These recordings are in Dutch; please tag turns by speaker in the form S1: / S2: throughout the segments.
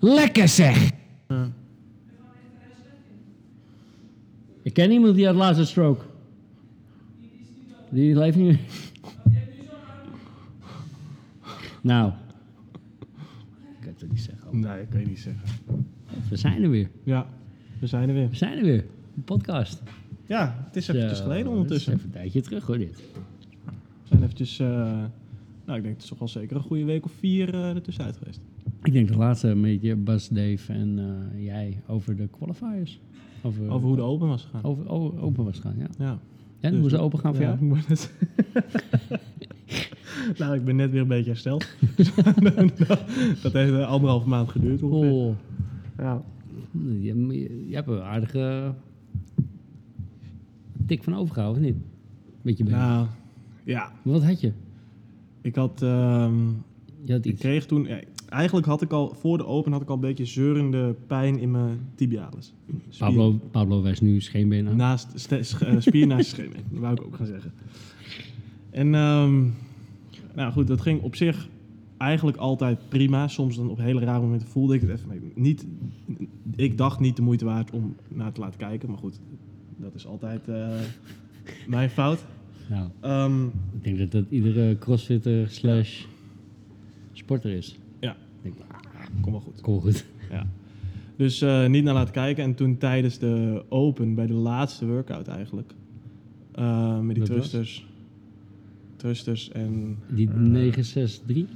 S1: Lekker zeg!
S2: Ik ken iemand die had laatst een stroke. Die leeft niet meer. Nou. Ik kan het toch niet zeggen. oh,
S3: Nee, dat kan je niet zeggen.
S2: We zijn er weer.
S3: Ja, we zijn er weer.
S2: We zijn er weer. Een podcast.
S3: Ja, het is eventjes
S2: Zo,
S3: geleden
S2: dat
S3: ondertussen.
S2: is Even een tijdje terug hoor dit.
S3: We zijn eventjes, eh, nou ik denk het is toch wel zeker een goede week of vier eh ertussenuit geweest.
S2: Ik denk de laatste een beetje Bas, Dave en eh, jij over de qualifiers. Over,
S3: Over hoe de open was gegaan.
S2: over, over open was gaan, ja.
S3: Ja.
S2: En
S3: Dus-
S2: hoe ze open gaan voor
S3: Ja,
S2: jou?
S3: ik moet het- nou, ik ben net weer een beetje hersteld. dat heeft eh, anderhalf maand geduurd ongeveer.
S2: Oh,
S3: Ja.
S2: Hm, je, je- je hebt een aardige tik van overgehouden, of niet? Beetje bij.
S3: Nou, ja.
S2: Wat had je?
S3: Ik had, ehm,
S2: Je had
S3: ik
S2: iets.
S3: kreeg toen, ja, eigenlijk had ik al, voor de open had ik al een beetje zeurende pijn in mijn tibialis. Spier-
S2: Pablo, Pablo wijst nu scheenbeen aan.
S3: Naast, ste- sch- eh, spier naast schenen. Dat wou ik ook gaan zeggen. En ehm, nou goed, dat ging op zich eigenlijk altijd prima. Soms dan op hele rare momenten voelde ik het even nee, niet. Ik dacht niet de moeite waard om naar te laten kijken. Maar goed, dat is altijd eh, mijn fout.
S2: Nou,
S3: Ehm,
S2: ik denk dat dat iedere crossfitter slash sporter is.
S3: Ja.
S2: Ik denk, ah,
S3: kom wel goed.
S2: kom goed.
S3: Ja. Dus eh, niet naar laten kijken. En toen tijdens de open, bij de laatste workout eigenlijk. eh, met die
S2: Dat was?
S3: thrusters. Thrusters en eh,
S2: Die 963?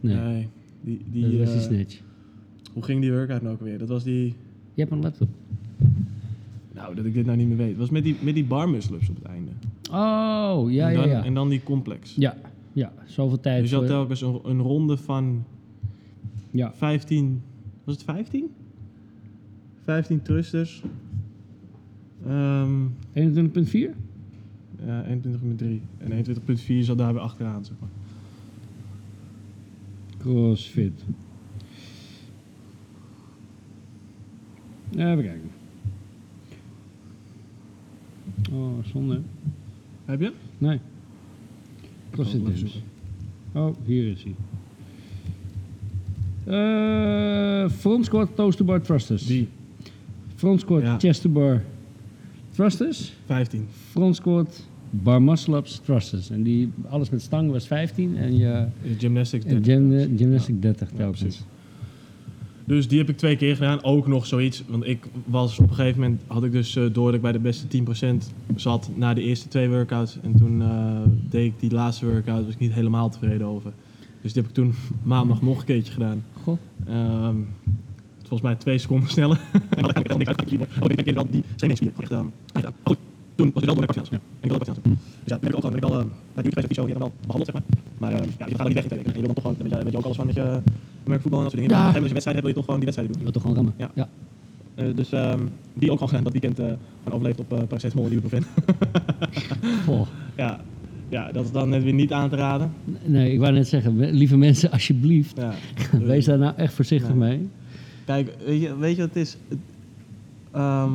S2: Nee,
S3: Nee, die, Eh, die,
S2: dat was die
S3: eh,
S2: snatch.
S3: hoe ging die workout nou ook weer? Dat was die...
S2: Je hebt een laptop.
S3: Nou, dat ik dit nou niet meer weet. Het was met die, met die bar muscle-ups op het einde.
S2: Oh, ja,
S3: en, dan,
S2: ja, ja.
S3: en dan die complex.
S2: Ja, ja, zoveel tijd.
S3: dus je had
S2: voor-
S3: telkens een, een ronde van
S2: ja.
S3: 15... Was het 15? 15 thrusters. Ehm
S2: 21.4?
S3: ja, 21,3. En 21,4 zat daar weer achteraan, zeg maar.
S2: Crossfit. Even kijken. Oh, zonde.
S3: Heb je?
S2: Nee.
S3: Ik
S2: Crossfit
S3: ga het
S2: Dance.
S3: opzoeken.
S2: Oh, hier is hij. Eh front squat, toes to bar thrusters.
S3: Die.
S2: Front squat,
S3: Ja.
S2: chest to bar thrusters.
S3: 15.
S2: Front squat, bar muscle-ups, thrusters. En die, alles met stang was 15 en je...
S3: Eh, Gymnastics.
S2: En
S3: 30.
S2: gym, gymnastic 30
S3: Ja,
S2: telkens.
S3: precies. Dus die heb ik twee keer gedaan. Ook nog zoiets. Want ik was op een gegeven moment. had ik dus eh, door dat ik bij de beste 10% zat. na de eerste twee workouts. En toen eh, deed ik die laatste workout. was ik niet helemaal tevreden over. Dus die heb ik toen maandag nog een keertje gedaan.
S2: Goh.
S3: Ehm, volgens mij twee seconden sneller. En dan ik niks uit. Ik keer wel die zenuwspier. Echt gedaan. Goed. Toen was ik wel door de Ja. Ik wilde Dus ja, ben ik ook gewoon. Ben ik al. bij de geweest. Die heb al behandeld, zeg maar. Maar ja, je gaat niet weg. Je wil dan toch gewoon. Weet je ook alles van. Met je merkvoetbal en dat soort dingen. Ja. En dus een wedstrijd wil je toch gewoon die wedstrijd doen.
S2: Je wilt toch gewoon rammen?
S3: Ja. Eh, dus ehm, die ook al gedaan dat weekend eh gewoon overleefd op eh paracetamol en ibuprofen.
S2: Goh.
S3: ja. ja, dat is dan net weer niet aan te raden.
S2: Nee, ik wou net zeggen, we- lieve mensen, alsjeblieft,
S3: Ja.
S2: wees daar nou echt voorzichtig
S3: eh, Ja.
S2: mee.
S3: Kijk, weet je, weet je wat het is? Het, ehm,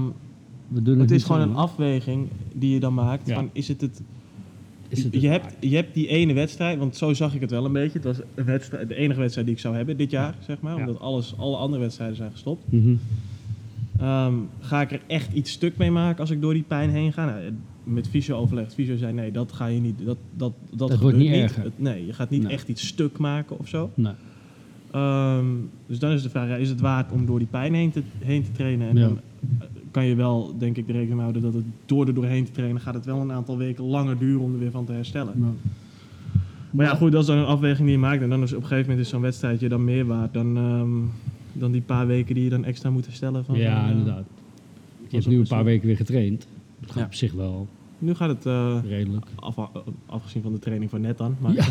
S2: We doen het
S3: het
S2: niet eh,
S3: is gewoon een
S2: zomaar. afweging.
S3: afweging die je dan maakt.
S2: Ja.
S3: Van, is het het,
S2: Is het
S3: je,
S2: het
S3: hebt, je hebt die ene wedstrijd, want zo zag ik het wel een beetje. Het was een wedstrijd, de enige wedstrijd die ik zou hebben dit jaar, zeg maar.
S2: Ja.
S3: Omdat alles, alle andere wedstrijden zijn gestopt.
S2: waard? Mhm.
S3: Ehm, ga ik er echt iets stuk mee maken als ik door die pijn heen ga? Nou, met fysio overlegd. Fysio zei nee, dat ga je niet. Dat, dat, dat,
S2: wordt
S3: gebeurt
S2: niet erger.
S3: Het- nee, je gaat niet
S2: Nee.
S3: echt iets stuk maken of zo.
S2: Nou,
S3: Ehm, dus dan is de vraag, ja, is het waard om door die pijn heen te, heen te trainen? En
S2: Ja.
S3: dan eh, kan je wel, denk ik, de rekening mee houden dat het door er doorheen te trainen gaat het wel een aantal weken langer duren om er weer van te herstellen.
S2: nou.
S3: Maar ja, goed, dat is dan een afweging die je maakt. En dan is op een gegeven moment is zo'n wedstrijdje dan meer waard dan, ehm, dan die paar weken die je dan extra moet herstellen. Van,
S2: ja,
S3: eh,
S2: inderdaad. Je hebt
S3: ook
S2: nu een
S3: best
S2: paar
S3: wel-
S2: weken weer getraind. Dat gaat
S3: Ja.
S2: op zich wel
S3: Nu gaat het eh,
S2: redelijk.
S3: Af, afgezien van de training van net dan. Maar
S2: Ja.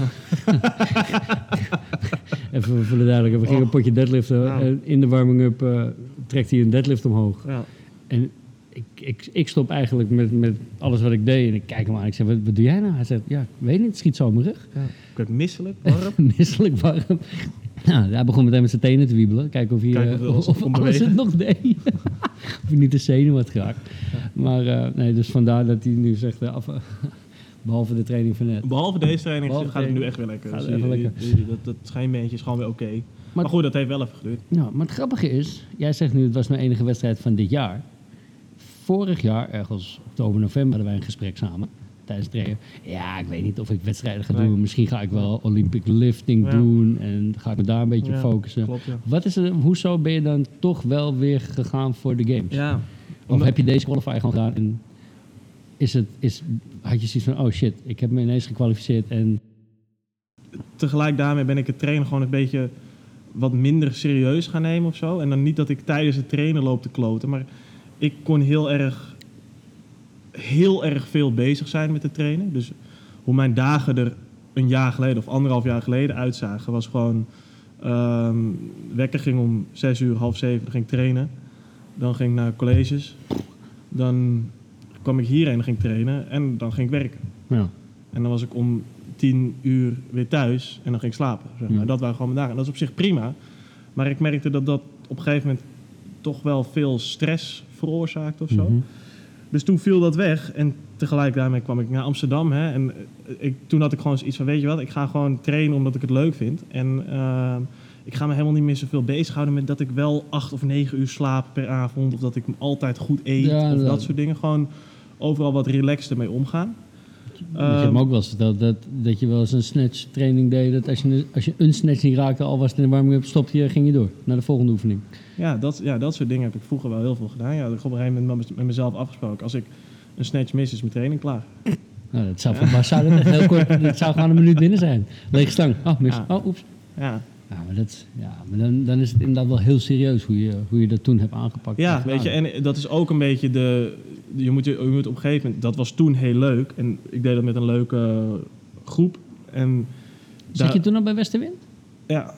S2: Even voor de duidelijkheid, we gingen
S3: Oh.
S2: een potje deadliften.
S3: Nou.
S2: En in de warming-up eh, trekt hij een deadlift omhoog.
S3: ja.
S2: En ik, ik, ik stop eigenlijk met, met alles wat ik deed. En ik kijk hem aan. Ik zeg, wat, wat doe jij nou? Hij zegt, ja, ik weet niet. Het schiet zo op mijn rug.
S3: ik werd misselijk, warm.
S2: Misselijk warm. Nou, hij begon meteen met zijn tenen te wiebelen. Kijken of hij
S3: Kijken of
S2: eh,
S3: het-
S2: of,
S3: of het kon
S2: alles
S3: bewegen.
S2: het nog deed. of hij niet de zenuw had geraakt. Maar eh, nee, dus vandaar dat hij nu zegt, eh, af, Behalve de training van net.
S3: Behalve deze training
S2: Behalve
S3: gaat het
S2: deze.
S3: nu echt weer lekker.
S2: Gaat
S3: Dus
S2: het echt
S3: die-
S2: lekker.
S3: die- die- dat, dat schijnbeentje is gewoon weer oké. Maar, goed, dat heeft wel even geduurd.
S2: Nou, maar het grappige is, jij zegt nu het was mijn enige wedstrijd van dit jaar. Vorig jaar, ergens oktober, november, hadden wij een gesprek samen tijdens het trainen. Ja, ik weet niet of ik wedstrijden ga
S3: Nee.
S2: doen. Misschien ga ik wel Olympic lifting
S3: Ja.
S2: doen en ga ik me daar een beetje
S3: Ja,
S2: op focussen.
S3: Klopt, ja.
S2: Wat is er, hoezo ben je dan toch wel weer gegaan voor de games?
S3: Ja.
S2: Of heb je deze qualifier gewoon gedaan en is het, is, had je zoiets van, oh shit, ik heb me ineens gekwalificeerd en...
S3: tegelijk daarmee ben ik het trainen gewoon een beetje wat minder serieus gaan nemen of zo. En dan niet dat ik tijdens het trainen loop te kloten, maar ik kon heel erg, heel erg veel bezig zijn met het trainen. Dus hoe mijn dagen er een jaar geleden of anderhalf jaar geleden uitzagen, was gewoon ehm, wekker ging om zes uur, half zeven, dan ging ik trainen. Dan ging ik naar colleges. Dan kwam ik hierheen, dan ging ik trainen en dan ging ik werken.
S2: nou Ja,
S3: En dan was ik om tien uur weer thuis en dan ging ik slapen. Zeg maar.
S2: Ja.
S3: Dat waren gewoon mijn dagen. En dat is op zich prima. Maar ik merkte dat dat op een gegeven moment toch wel veel stress veroorzaakt of zo.
S2: Mhm.
S3: Dus toen viel dat weg. En tegelijk daarmee kwam ik naar Amsterdam. Hè, en eh, ik, toen had ik gewoon iets van, weet je wat, ik ga gewoon trainen omdat ik het leuk vind. En ehm, ik ga me helemaal niet meer zoveel bezighouden met dat ik wel acht of negen uur slaap per avond. Of dat ik altijd goed eet.
S2: Ja,
S3: of dat,
S2: dat-
S3: soort dingen. Gewoon overal wat relaxter mee omgaan.
S2: Want je hebt
S3: Ehm,
S2: me ook wel eens verteld dat, dat je wel eens een snatch training deed. Dat als je, als je een snatch niet raakte, al was het in de warming-up, stopte je, ging je door naar de volgende oefening.
S3: Ja dat, ja, dat soort dingen heb ik vroeger wel heel veel gedaan. Ja, dat heb ik op een gegeven moment met mezelf afgesproken. Als ik een snatch mis, is mijn training klaar.
S2: Nou, dat zou, maar zou dat heel kort, dat zou gewoon een minuut binnen zijn. Lege stang. Oh, mis.
S3: Ja.
S2: Oh, oeps.
S3: Ja,
S2: Ja, maar, dat, is- ja, maar dan, dan is het inderdaad wel heel serieus hoe je, hoe je dat toen hebt aangepakt.
S3: ja weet je, en dat is ook een beetje de... Je moet, je, je moet op een gegeven moment... Dat was toen heel leuk. En ik deed dat met een leuke groep. En
S2: Zat
S3: daar-
S2: je toen al bij Westerwind?
S3: Ja,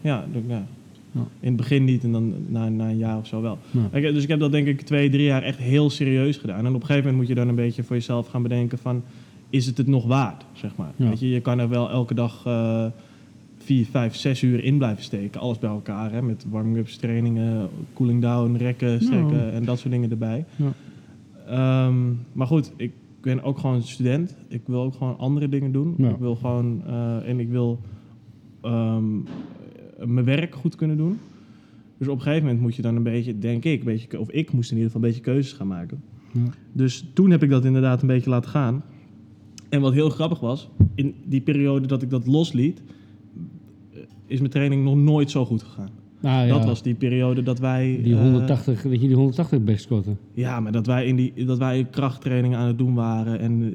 S3: ja, dat- ja.
S2: Ja.
S3: In het begin niet en dan na, na een jaar of zo wel.
S2: Ja.
S3: Ik- dus ik heb dat denk ik twee, drie jaar echt heel serieus gedaan. En op een gegeven moment moet je dan een beetje voor jezelf gaan bedenken van... is het het nog waard, zeg maar.
S2: Ja.
S3: Weet je, je kan er wel elke dag eh, vier, vijf, zes uur in blijven steken. Alles bij elkaar, hè. Met warming-ups, trainingen, cooling down, rekken, strekken en dat soort dingen erbij.
S2: Ja.
S3: Ehm, maar goed, ik ben ook gewoon student. Ik wil ook gewoon andere dingen doen.
S2: Ja.
S3: Ik wil gewoon... eh, en ik wil ehm, eh, mijn werk goed kunnen doen. Dus op een gegeven moment moet je dan een beetje, denk ik, een beetje, of ik moest in ieder geval een beetje keuzes gaan maken.
S2: Ja.
S3: Dus toen heb ik dat inderdaad een beetje laten gaan. En wat heel grappig was, in die periode dat ik dat losliet, eh, is mijn training nog nooit zo goed gegaan.
S2: Ah, ja.
S3: Dat was die periode dat wij.
S2: Die
S3: eh,
S2: 180, weet je, die 180 backscotten.
S3: ja, maar dat wij, in die, dat wij krachttrainingen aan het doen waren. En,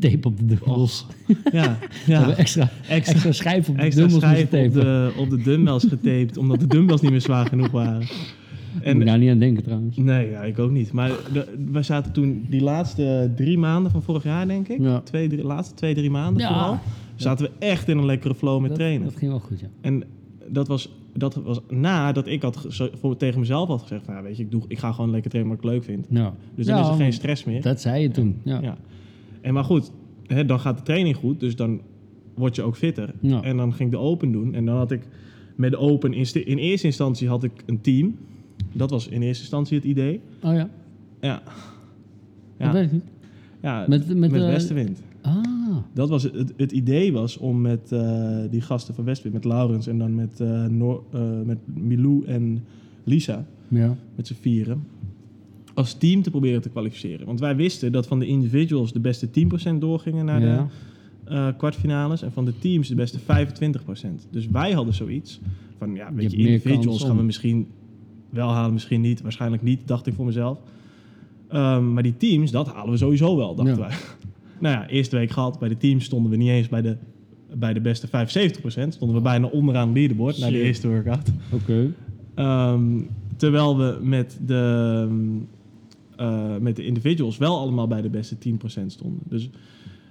S2: Tape op de dubbels.
S3: eh, ja,
S2: Ja.
S3: ja.
S2: Oh, Extra,
S3: Extra,
S2: extra schijf op de
S3: extra
S2: dubbels moeten
S3: schijf op
S2: tapen.
S3: de, op de dumbbells getaped, omdat de dumbbells niet meer zwaar genoeg waren.
S2: Moet je daar niet aan denken trouwens.
S3: Nee, ja, ik ook niet. Maar de- we zaten toen die laatste drie maanden van vorig jaar, denk ik.
S2: Ja.
S3: Twee, drie, laatste twee, drie maanden
S2: Ja.
S3: vooral. Zaten we echt in een lekkere flow met
S2: Dat-
S3: trainen.
S2: Dat ging wel goed, ja.
S3: En dat was, dat was nadat ik had ge- zo- voor, tegen mezelf had gezegd... van, ja, weet je, ik, doe, ik ga gewoon lekker trainen wat ik leuk vind.
S2: ja.
S3: Dus dan
S2: Ja,
S3: is er geen stress meer.
S2: Dat zei je toen, ja.
S3: Ja. En maar goed, hè, dan gaat de training goed, dus dan word je ook fitter.
S2: Ja.
S3: En dan ging ik de open doen. En dan had ik met de open... In, sti- in eerste instantie had ik een team. Dat was in eerste instantie het idee.
S2: Oh ja,
S3: Ja.
S2: dat weet
S3: Ja,
S2: ik niet.
S3: ja met,
S2: Met, met, eh,
S3: Westenwind.
S2: Ah,
S3: Dat was het, het idee was om met eh, die gasten van Westwind, met Laurens en dan met, eh, Noor- eh, met Milou en Lisa,
S2: ja.
S3: met z'n vieren, als team te proberen te kwalificeren. Want wij wisten dat van de individuals de beste 10% doorgingen naar
S2: ja.
S3: de eh, kwartfinales en van de teams de beste 25%. Dus wij hadden zoiets van, ja,
S2: Je
S3: weet
S2: hebt
S3: je,
S2: meer kans
S3: individuals
S2: om.
S3: gaan we misschien wel halen, misschien niet, waarschijnlijk niet, dacht ik voor mezelf. Ehm, maar die teams, dat halen we sowieso wel, dachten
S2: Ja.
S3: wij. Nou ja, eerste week gehad. Bij de teams stonden we niet eens bij de, bij de beste 75%. Stonden we bijna onderaan het leaderboard na de
S2: Shit.
S3: eerste workout.
S2: Oké.
S3: Ehm, terwijl we met de, ehm, eh, met de individuals wel allemaal bij de beste 10% stonden. Dus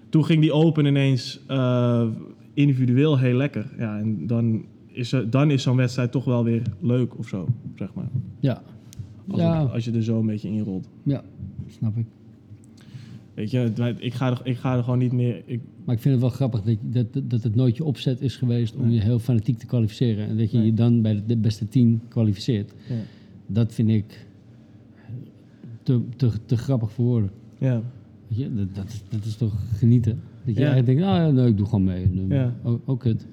S3: toen ging die open ineens eh, individueel heel lekker. Ja, en dan is, er- dan is zo'n wedstrijd toch wel weer leuk of zo, zeg maar.
S2: Ja.
S3: Als,
S2: Ja.
S3: het- als je er zo een beetje in rolt.
S2: ja, snap ik.
S3: Weet je, het- ik ga, er, ik ga er gewoon niet meer... Ik,
S2: Maar ik vind het wel grappig dat, dat, dat- dat het nooit je opzet is geweest om
S3: Nee.
S2: je heel fanatiek te kwalificeren. En dat je
S3: Nee.
S2: je dan bij de- de beste tien kwalificeert.
S3: ja.
S2: Dat vind ik te, te, te grappig voor woorden.
S3: ja.
S2: Weet Weet je, dat, dat, is- dat is toch genieten? Dat je
S3: Ja.
S2: eigenlijk denkt, oh, nee, ik doe gewoon mee. En, eh,
S3: Ja.
S2: Oh, oh, kut.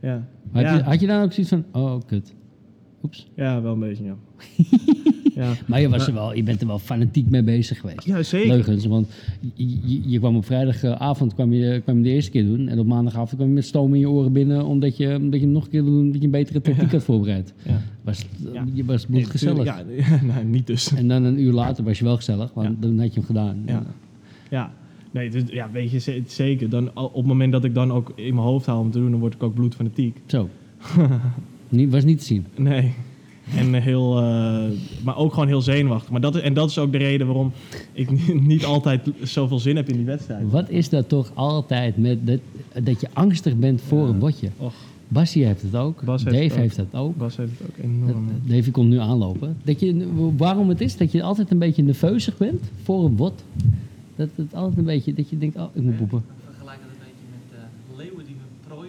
S3: Ja.
S2: Had,
S3: ja.
S2: je, had je dan ook zoiets van, oh, kut. Oeps.
S3: ja, wel een beetje, ja. ja.
S2: Maar je, was er wel, je bent er wel fanatiek mee bezig geweest.
S3: Ja, zeker.
S2: Leugens, want je, je- je kwam op vrijdagavond kwam je, kwam je de eerste keer doen. En op maandagavond kwam je met stoom in je oren binnen. Omdat je, omdat je hem nog een keer wil doen, omdat je een betere tactiek had voorbereid.
S3: Ja.
S2: Was,
S3: Ja.
S2: Je was
S3: Nee,
S2: gezellig.
S3: tuurlijk, Ja, nou, niet dus.
S2: En dan een uur later was je wel gezellig, want
S3: Ja.
S2: dan had je hem gedaan.
S3: Ja. Ja. Nee, dus, ja, weet je, ze- zeker. Dan, al- op het moment dat ik dan ook in mijn hoofd haal om te doen, dan word ik ook bloedfanatiek.
S2: Zo. Niet- was niet te zien.
S3: Nee. En heel, eh, maar ook gewoon heel zenuwachtig. Maar dat, is- en dat is ook de reden waarom ik ni- niet altijd zoveel zin heb in die wedstrijd.
S2: Wat is dat toch altijd met dat, dat je angstig bent voor een botje?
S3: Och,
S2: Bassie heeft het ook.
S3: Bas heeft
S2: Dave
S3: het ook.
S2: heeft dat ook.
S3: Bas heeft het ook enorm.
S2: Dat- Davy komt nu aanlopen. Dat je, waarom het is dat je altijd een beetje nerveuzig bent voor een bot. Dat het altijd een beetje, dat je denkt, oh, ik moet poepen.
S1: Ik vergelijk dat een beetje met eh, leeuwen die hun prooi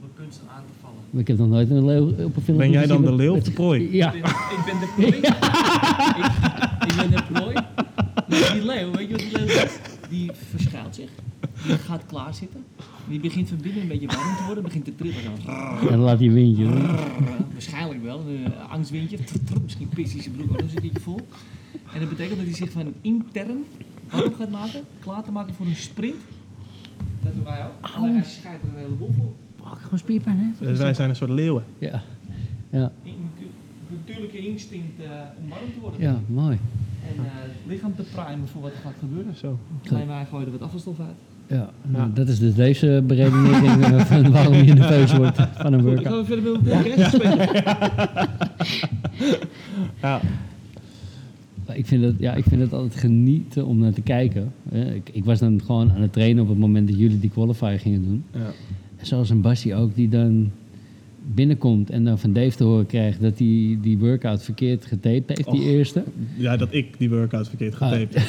S1: bekunsten aan te vallen.
S2: Ik heb nog nooit een leeuw op een film
S3: Ben jij dan
S2: gezien
S3: de
S2: met-
S3: leeuw of de prooi?
S2: Ja.
S1: Ik, ben, ik ben de prooi. ik, ik ben de prooi. Maar die leeuw, weet je wat die leeuw doet? Die verschuilt zich. Die gaat klaarzitten. Die begint van binnen een beetje warm te worden. Begint te trillen. Dan.
S2: En dan laat hij een windje.
S1: Waarschijnlijk wel. Een eh, angstwindje. Trrr, trrr. Misschien pist hij zijn broek ook nog eens een keertje vol. En dat betekent dat hij zich van intern warm gaat maken. Klaar te maken voor een sprint. Dat doen wij ook. Alleen hij scheidt er een heleboel vol.
S2: Pak gewoon spierpijn, hè?
S3: Dus wij zijn een soort leeuwen.
S2: Ja. Ja,
S1: in- natuurlijke instinct eh, om warm te worden.
S2: ja, mooi.
S1: En eh, het lichaam te primen voor wat er gaat gebeuren.
S3: Zo.
S1: Alleen wij gooien er wat afvalstof uit.
S2: Ja, nou, dat is dus deze beredenering eh, van waarom je nerveus wordt van een
S1: Ik ga
S2: workout.
S1: weer verder met de podcast spelen.
S3: Ja.
S2: Maar Nou, Ik vind, het, ja, ik vind het altijd genieten om naar te kijken. Eh, Ik, ik was dan gewoon aan het trainen op het moment dat jullie die qualifier gingen doen.
S3: Ja.
S2: Zoals een Bassie ook, die dan binnenkomt en dan van Dave te horen krijgt dat hij die workout verkeerd getaped heeft, die
S3: Och.
S2: eerste.
S3: ja, dat ik die workout verkeerd getaped heb.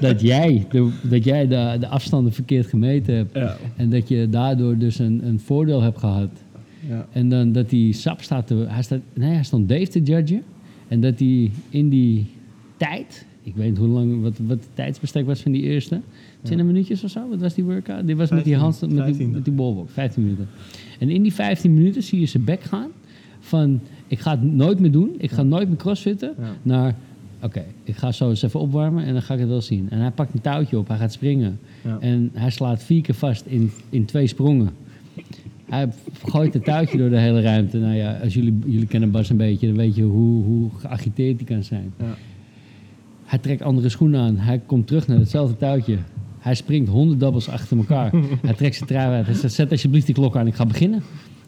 S2: Dat jij, de, dat jij de, de afstanden verkeerd gemeten hebt.
S3: Ja.
S2: En dat je daardoor dus een, een voordeel hebt gehad.
S3: Ja.
S2: En dan dat die sap staat te... Hij, staat, nee, hij stond Dave te judgen. En dat hij in die tijd... Ik weet niet hoe lang, wat, wat het tijdsbestek was van die eerste. 20 minuutjes of zo, wat was die workout? Dit was met die hand,
S3: 15,
S2: met die,
S3: 15.
S2: met die ballwalk, 15 minuten. En in die 15 minuten zie je zijn bek gaan van... Ik ga het nooit meer doen, ik ga nooit meer crossfitten.
S3: Ja.
S2: Naar, oké, ik ga zo eens even opwarmen en dan ga ik het wel zien. En hij pakt een touwtje op, hij gaat springen.
S3: Ja.
S2: En hij slaat vier keer vast in, in twee sprongen. Hij gooit het touwtje door de hele ruimte. Nou ja, als jullie, jullie kennen Bas een beetje, dan weet je hoe, hoe geagiteerd hij kan zijn.
S3: Ja.
S2: Hij trekt andere schoenen aan. Hij komt terug naar hetzelfde touwtje. Hij springt honderd dubbels achter elkaar. hij trekt zijn trui uit. Hij zegt, zet alsjeblieft die klok aan, ik ga beginnen.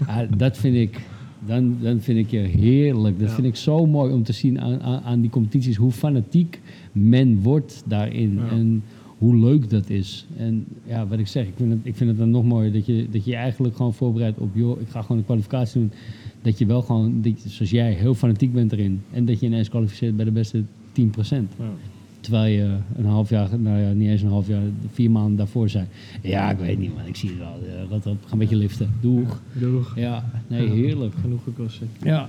S2: Ah, dat vind ik, dan, dan vind ik je heerlijk. Dat
S3: Ja.
S2: vind ik zo mooi om te zien aan, aan, aan die competities. Hoe fanatiek men wordt daarin.
S3: Ja.
S2: En hoe leuk dat is. En ja, wat ik zeg, ik vind het, ik vind het dan nog mooier dat je, dat je je eigenlijk gewoon voorbereidt op... joh, ik ga gewoon een kwalificatie doen. Dat je wel gewoon, dat je- zoals jij, heel fanatiek bent erin. En dat je ineens kwalificeert bij de beste 10%.
S3: Ja.
S2: Terwijl je een half jaar, nou ja, niet eens een half jaar, vier maanden daarvoor zei. Ja, ik weet niet, man. Ik zie het wel. Eh, Rot op, ga een beetje liften. Doeg.
S3: Genoeg.
S2: Ja, nee, heerlijk.
S3: Genoeg gekost.
S2: Ja.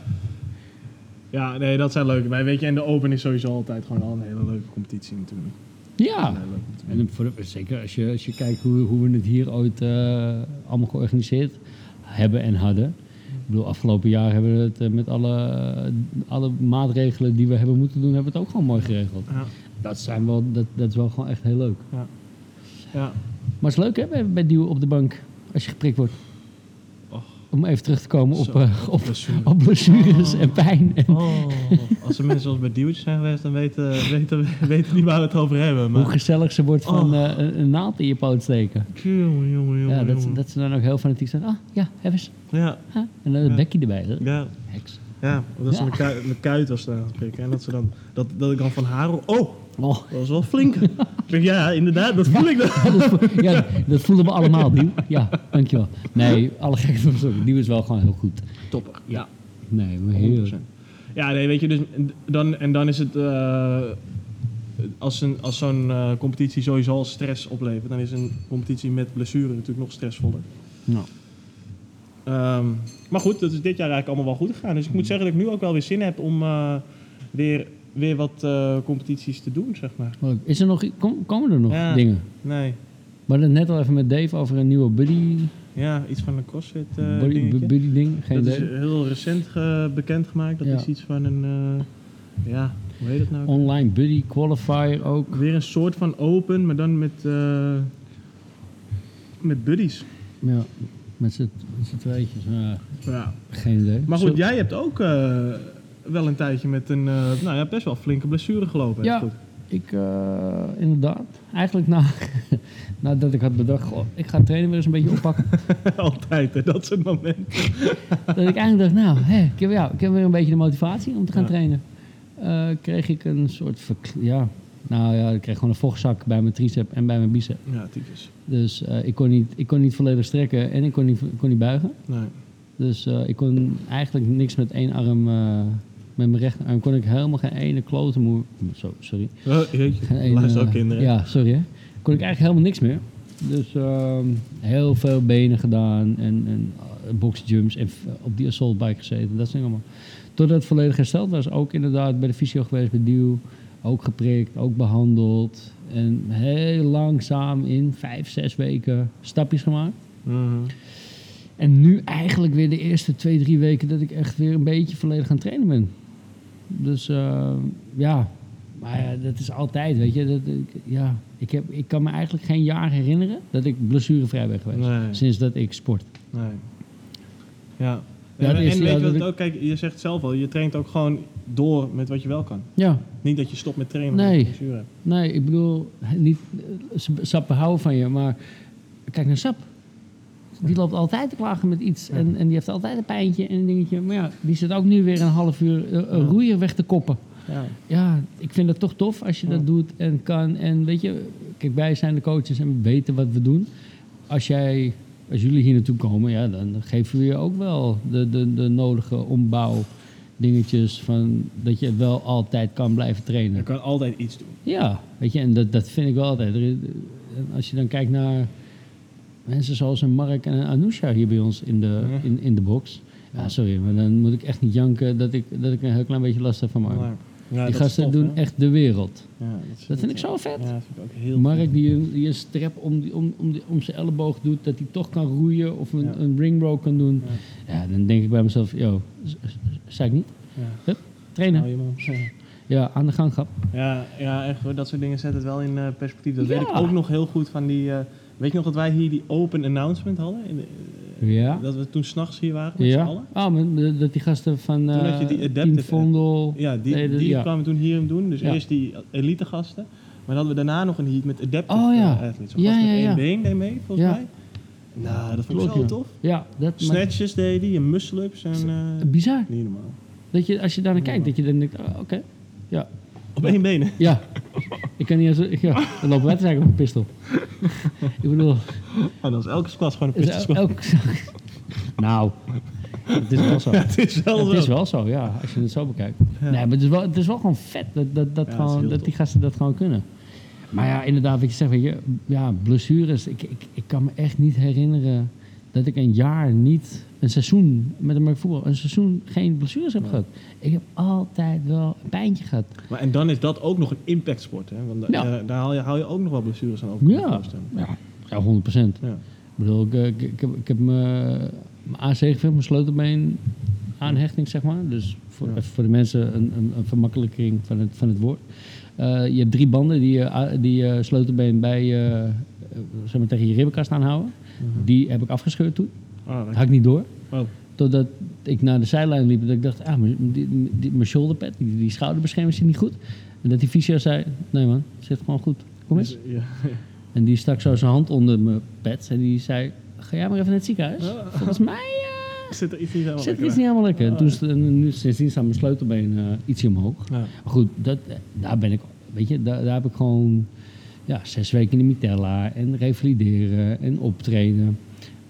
S3: Ja, nee, dat zijn leuke. Maar weet je, en de Open is sowieso altijd gewoon al een hele leuke competitie natuurlijk. Een
S2: Ja.
S3: hele leuke competitie.
S2: En voor de, zeker als je, als je kijkt hoe, hoe we het hier ooit eh, allemaal georganiseerd hebben en hadden. Ik bedoel, afgelopen jaar hebben we het eh, met alle, alle maatregelen die we hebben moeten doen, hebben we het ook gewoon mooi geregeld.
S3: Ja.
S2: Dat, zijn wel, dat, dat is wel gewoon echt heel leuk.
S3: Ja.
S2: Maar het is leuk hè, bij, bij duwen op de bank, als je geprikt wordt.
S3: Och.
S2: Om even terug te komen op,
S3: Zo,
S2: eh, op,
S3: blessure.
S2: op blessures en pijn. En
S3: Oh, als er mensen zoals bij Duwtjes zijn geweest, dan weten weten, weten niet waar we het over hebben.
S2: hoe
S3: Maar...
S2: gezellig ze wordt van
S3: Oh.
S2: eh, een, een naald in je poot steken.
S3: Jongen, jongen, jongen.
S2: Ja, dat, ze-
S3: jongen.
S2: dat ze dan ook heel fanatiek zijn. Ah, ja, even eens.
S3: ja,
S2: Ah, En dan het
S3: Ja.
S2: bekje erbij. hè.
S3: ja,
S2: Heks.
S3: ja. Dat ze
S2: Ja.
S3: mijn kuit, mijn kuit was aan het prikken. En dat, ze dan, dat, dat ik dan van haar... hoor, Oh,
S2: Oh,
S3: dat was wel flink. ik denk, ja, inderdaad, dat voel ik dan.
S2: ja, dat voelen we allemaal, Nieuw. Ja, dankjewel. Nee, alle gekte op zoek. Nieuw is wel gewoon heel goed.
S3: Topper.
S2: Ja. Nee, maar
S3: 100%.
S2: heerlijk.
S3: Ja, nee, weet je, dus dan, en dan is het. eh, als, een, als zo'n eh, competitie sowieso al stress oplevert, dan is een competitie met blessure natuurlijk nog stressvoller.
S2: Nou,
S3: Ehm, Mm. maar goed, dat is dit jaar eigenlijk allemaal wel goed gegaan. Dus ik moet zeggen dat ik nu ook wel weer zin heb om eh, weer weer wat eh, competities te doen, zeg maar.
S2: Leuk. Is er nog, i- kom- komen er nog
S3: Ja.
S2: dingen?
S3: Nee.
S2: We hadden het net al even met Dave over een nieuwe buddy,
S3: Ja, iets van een crossfit eh,
S2: buddy,
S3: dingetje.
S2: buddy ding. Geen
S3: Dat is
S2: idee.
S3: heel recent ge- bekendgemaakt. Dat
S2: Ja.
S3: is iets van een... eh, ja, hoe heet dat nou?
S2: Online buddy qualifier ook.
S3: Weer een soort van open, maar dan met, eh, met buddies.
S2: Ja, met z'n met z'n tweetjes. Ja,
S3: Ja.
S2: geen idee.
S3: Maar
S2: Zo-
S3: goed, jij hebt ook eh, wel een tijdje met een eh, nou ja, best wel flinke blessure gelopen.
S2: Ja.
S3: Goed.
S2: Ik, eh, inderdaad. Eigenlijk na, nadat ik had bedacht, goh, ik ga het trainen weer eens een beetje oppakken.
S3: Altijd, hè, dat soort momenten.
S2: dat ik eigenlijk dacht, nou, hè, ik, heb, ja, ik heb weer een beetje de motivatie om te gaan
S3: Ja.
S2: trainen. Eh, kreeg ik een soort, verk- ja, nou ja, ik kreeg gewoon een vochtzak bij mijn tricep en bij mijn bicep.
S3: Ja, typisch.
S2: Dus eh, ik, kon niet, ik kon niet volledig strekken en ik kon niet, ik kon niet buigen.
S3: Nee.
S2: Dus eh, ik kon eigenlijk niks met één arm, eh, met mijn rechterarm kon ik helemaal geen ene klote moe... Zo, sorry.
S3: Oh, jeetje.
S2: Geen ene-
S3: Luister ook eh, kinderen.
S2: eh, Ja, sorry hè. Kon ik eigenlijk helemaal niks meer. Dus ehm, heel veel benen gedaan en, en eh, boxjumps en v- op die assault bike gezeten. Dat zijn allemaal. Totdat het volledig hersteld was. Ook inderdaad bij de fysio geweest, bij Duw. Ook geprikt, ook behandeld. En heel langzaam in vijf, zes weken stapjes gemaakt.
S3: Mhm.
S2: En nu eigenlijk weer de eerste twee, drie weken dat ik echt weer een beetje volledig aan het trainen ben. Dus eh, ja, maar ja, dat is altijd, weet je. Dat, ik- ja, ik, heb, ik kan me eigenlijk geen jaar herinneren dat ik blessurevrij ben geweest.
S3: Nee.
S2: Sinds dat ik sport.
S3: Nee. Ja.
S2: Ja,
S3: en
S2: dat is-
S3: en
S2: ja,
S3: weet je
S2: dat
S3: wat het
S2: ik-
S3: ook, kijk, je zegt zelf al, je traint ook gewoon door met wat je wel kan.
S2: Ja,
S3: Niet dat je stopt met trainen.
S2: Nee.
S3: omdat je blessure hebt.
S2: nee, ik bedoel, niet, ze- Sap houden van je, maar kijk naar Sap. Die loopt altijd te klagen met iets en, en die heeft altijd een pijntje en een dingetje. Maar ja, die zit ook nu weer een half uur eh, een
S3: Ja.
S2: roeier weg te koppen.
S3: Ja.
S2: ja, ik vind het toch tof als je
S3: Ja.
S2: dat doet en kan. En weet je, kijk, wij zijn de coaches en we weten wat we doen. Als jij, als jullie hier naartoe komen, ja, dan geven we je ook wel de, de, de nodige ombouw dingetjes van dat je wel altijd kan blijven
S3: Je
S2: trainen.
S3: kan altijd iets doen.
S2: Ja, weet je, en dat, dat vind ik wel altijd. Er is- en Als je dan kijkt naar mensen zoals een Mark en een Anousha hier bij ons in de,
S3: Ja.
S2: in, in de box. Ja,
S3: Ja.
S2: sorry, maar dan moet ik echt niet janken dat ik, dat ik een heel klein beetje last heb van Mark.
S3: Maar,
S2: Die
S3: ja, dat is
S2: gasten
S3: tof,
S2: doen
S3: hè?
S2: echt de wereld.
S3: Ja, dat, is-
S2: Dat vind ik zo vet.
S3: Ja, dat vind ik ook heel
S2: Mark die een, die een strep om, die, om, om, die- om zijn elleboog doet, dat hij toch kan roeien of een,
S3: Ja.
S2: een ring row kan doen. Ja. dan denk ik bij mezelf, yo, z- z- zei ik niet?
S3: Ja.
S2: Trainen.
S3: Hou Nou, je mond.
S2: Ja, aan de gang, grap.
S3: Ja, ja, echt hoor. Dat soort dingen zet het wel in eh, perspectief. Dat
S2: Ja.
S3: weet ik ook nog heel goed van die... eh, weet je nog dat wij hier die open announcement hadden? In de- eh,
S2: Ja.
S3: Dat we toen s'nachts hier waren met z'n
S2: Ja.
S3: allen?
S2: Ah, maar de- dat die gasten van
S3: Toen
S2: eh
S3: had je die
S2: Team
S3: adaptive-
S2: Vondel.
S3: Ja, die,
S2: Nee, dat-
S3: die
S2: ja.
S3: kwamen toen hier hem doen. Dus
S2: Ja.
S3: eerst die elite gasten. Maar dan hadden we daarna nog een heat met adaptive
S2: Oh, ja.
S3: eh, athletes. Een
S2: Ja,
S3: gast met
S2: ja, ja.
S3: één been deed mee, volgens
S2: Ja.
S3: mij. Nou, dat vond ik
S2: Klopt,
S3: zo
S2: ja.
S3: tof.
S2: Ja, dat maar,
S3: Snatches deed hij en muscle-ups en... eh,
S2: bizar.
S3: niet normaal.
S2: Dat je, als je daar naar kijkt, dat je dan denkt, ah, oké. Ja,
S3: Op één benen.
S2: Ja, ik kan niet eens. ik- Ja, dan lopen wij te zeggen op een pistool. ik bedoel,
S3: Oh, dat is elke squat gewoon een
S2: is
S3: pistolsquat.
S2: el- elk. nou, het is wel zo.
S3: Het is wel
S2: Het
S3: zo.
S2: is wel zo, ja, als je het zo bekijkt. Nee, maar het is wel, het is wel gewoon vet dat, dat, dat,
S3: Ja, het is
S2: gewoon,
S3: heel
S2: dat die
S3: tof.
S2: gasten dat gewoon kunnen. Maar ja, inderdaad, wat je zegt, weet je, ja, blessures. Ik, ik, ik kan me echt niet herinneren dat ik een jaar niet, een seizoen met een voetbal, een seizoen geen blessures heb gehad. Ik heb altijd wel een pijntje gehad.
S3: Maar en dan is dat ook nog een impactsport, hè? Want da-
S2: Ja.
S3: eh, daar haal je, haal je ook nog wel blessures aan over.
S2: Ja, ja, ja 100
S3: ja.
S2: Ik bedoel, ik, ik, ik heb, ik heb mijn, mijn AC gevecht, mijn sleutelbeen aanhechting, zeg maar. Dus voor,
S3: Ja.
S2: even voor de mensen een, een, een vermakkelijking van het, van het woord. Eh, je hebt drie banden die je, a- die je sleutelbeen bij je, eh, zeg maar, tegen je ribbenkast aanhouden. Die heb ik afgescheurd toen.
S3: Ah, dat-
S2: Had ik niet door.
S3: oh,
S2: Totdat ik naar de zijlijn liep en dat ik dacht, ah, mijn, die, die- mijn shoulderpad, die, die schouderbescherming zit niet goed. En dat die fysio zei, nee man, zit gewoon goed. Kom eens.
S3: Ja.
S2: En die stak zo zijn hand onder mijn pet en die zei: Ga jij maar even naar het ziekenhuis? Volgens mij eh,
S3: Zit er iets niet Oh. helemaal
S2: zit er
S3: lekker Oh.
S2: iets niet helemaal lekker. En toen, is- en nu, sindsdien staat mijn sleutelbeen eh, ietsje omhoog.
S3: aan? Ja.
S2: Maar goed, dat, eh, daar ben ik, weet je, daar, daar heb ik gewoon ja, zes weken in de Mitella en revalideren en optreden.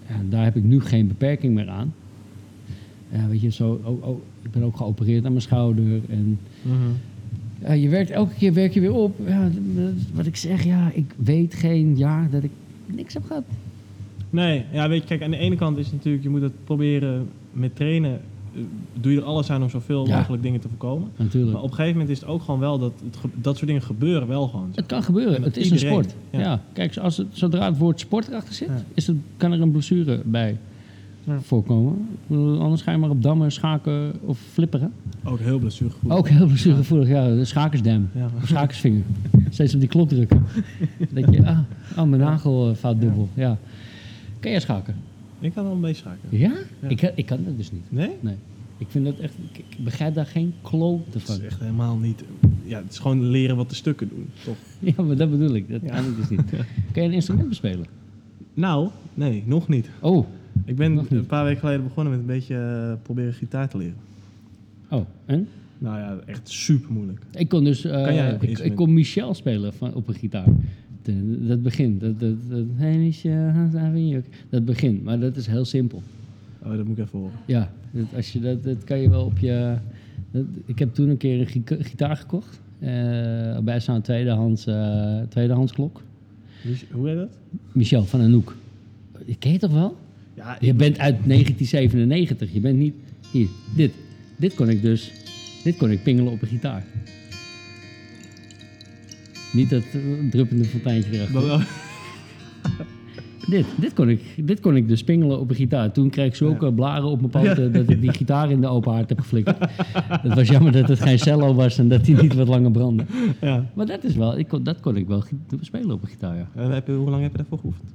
S2: Ja, daar heb ik nu geen beperking meer aan. Ja, weet je, zo, oh, oh, ik ben ook geopereerd aan mijn schouder en
S3: Mhm.
S2: ja, je werkt elke keer werk je weer op. Ja, dat is wat ik zeg, ja, ik weet geen jaar dat ik niks heb gehad.
S3: Nee, ja, weet je, kijk, aan de ene kant is het natuurlijk, je moet het proberen met trainen eh, doe je er alles aan om zoveel
S2: Ja.
S3: mogelijk dingen te voorkomen.
S2: natuurlijk.
S3: Maar op een gegeven moment is het ook gewoon wel dat het ge- dat soort dingen gebeuren wel gewoon.
S2: Het kan gebeuren.
S3: Met
S2: Het is
S3: iedereen,
S2: een sport.
S3: ja.
S2: Ja. Kijk, als het, zodra het woord sport erachter zit,
S3: Ja.
S2: is het, kan er een blessure bij
S3: Ja.
S2: voorkomen. Ik bedoel, Anders ga je maar op dammen, schaken of flipperen.
S3: Ook heel blessuregevoelig.
S2: Ook heel blessuregevoelig. Ja, de schakersdam.
S3: Ja.
S2: Of schakersvinger. Steeds op die klop drukken. dat je, ah, ah, mijn nagel eh, vaat dubbel. Ja. Kan jij schaken?
S3: Ik kan wel een beetje schaken.
S2: Ja?
S3: Ja.
S2: Ik, ik kan dat dus niet.
S3: Nee?
S2: Nee. Ik vind dat echt... Ik, ik begrijp daar geen klote
S3: Dat
S2: van.
S3: is echt helemaal niet... Ja, het is gewoon leren wat de stukken doen, toch?
S2: Ja, maar dat bedoel ik. Dat
S3: Ja.
S2: kan ik dus niet. Kan je een instrument bespelen?
S3: Nou, nee, nog niet.
S2: Oh.
S3: Ik ben
S2: Nog niet.
S3: een paar weken geleden begonnen met een beetje eh, proberen gitaar te leren.
S2: Oh, en?
S3: Nou ja, echt super moeilijk.
S2: Ik kon dus... eh,
S3: Kan jij een
S2: ik,
S3: instrument?
S2: ik kon Michel spelen van, op een gitaar. De- dat begin. Dat, dat, dat, hey Michel, how's it going? dat begin. Maar dat is heel simpel.
S3: Oh, dat moet ik even horen.
S2: Ja, dat, als je dat, dat kan je wel op je... dat- ik heb toen een keer een gi- gitaar gekocht. eh, bij zo'n tweedehands, eh, tweedehands klok.
S3: Dus, hoe heet dat?
S2: Michel van Anouk. Ik ken je toch wel?
S3: Ja,
S2: Je bent uit 1997. Je bent niet... Hier, dit. Dit kon ik dus... Dit kon ik pingelen op een gitaar. Niet dat eh, druppende fonteintje erachter.
S3: dat wel.
S2: Dit, dit, kon ik, dit kon ik dus pingelen op een gitaar. Toen kreeg ik zulke blaren op mijn poten dat ik die gitaar in de open haard heb geflikt. het was jammer dat het geen cello was en dat die niet wat langer brandde.
S3: ja.
S2: Maar dat is wel, ik kon, dat kon ik wel gi- spelen op een gitaar, ja.
S3: En heb je, hoe lang heb je daarvoor geoefend?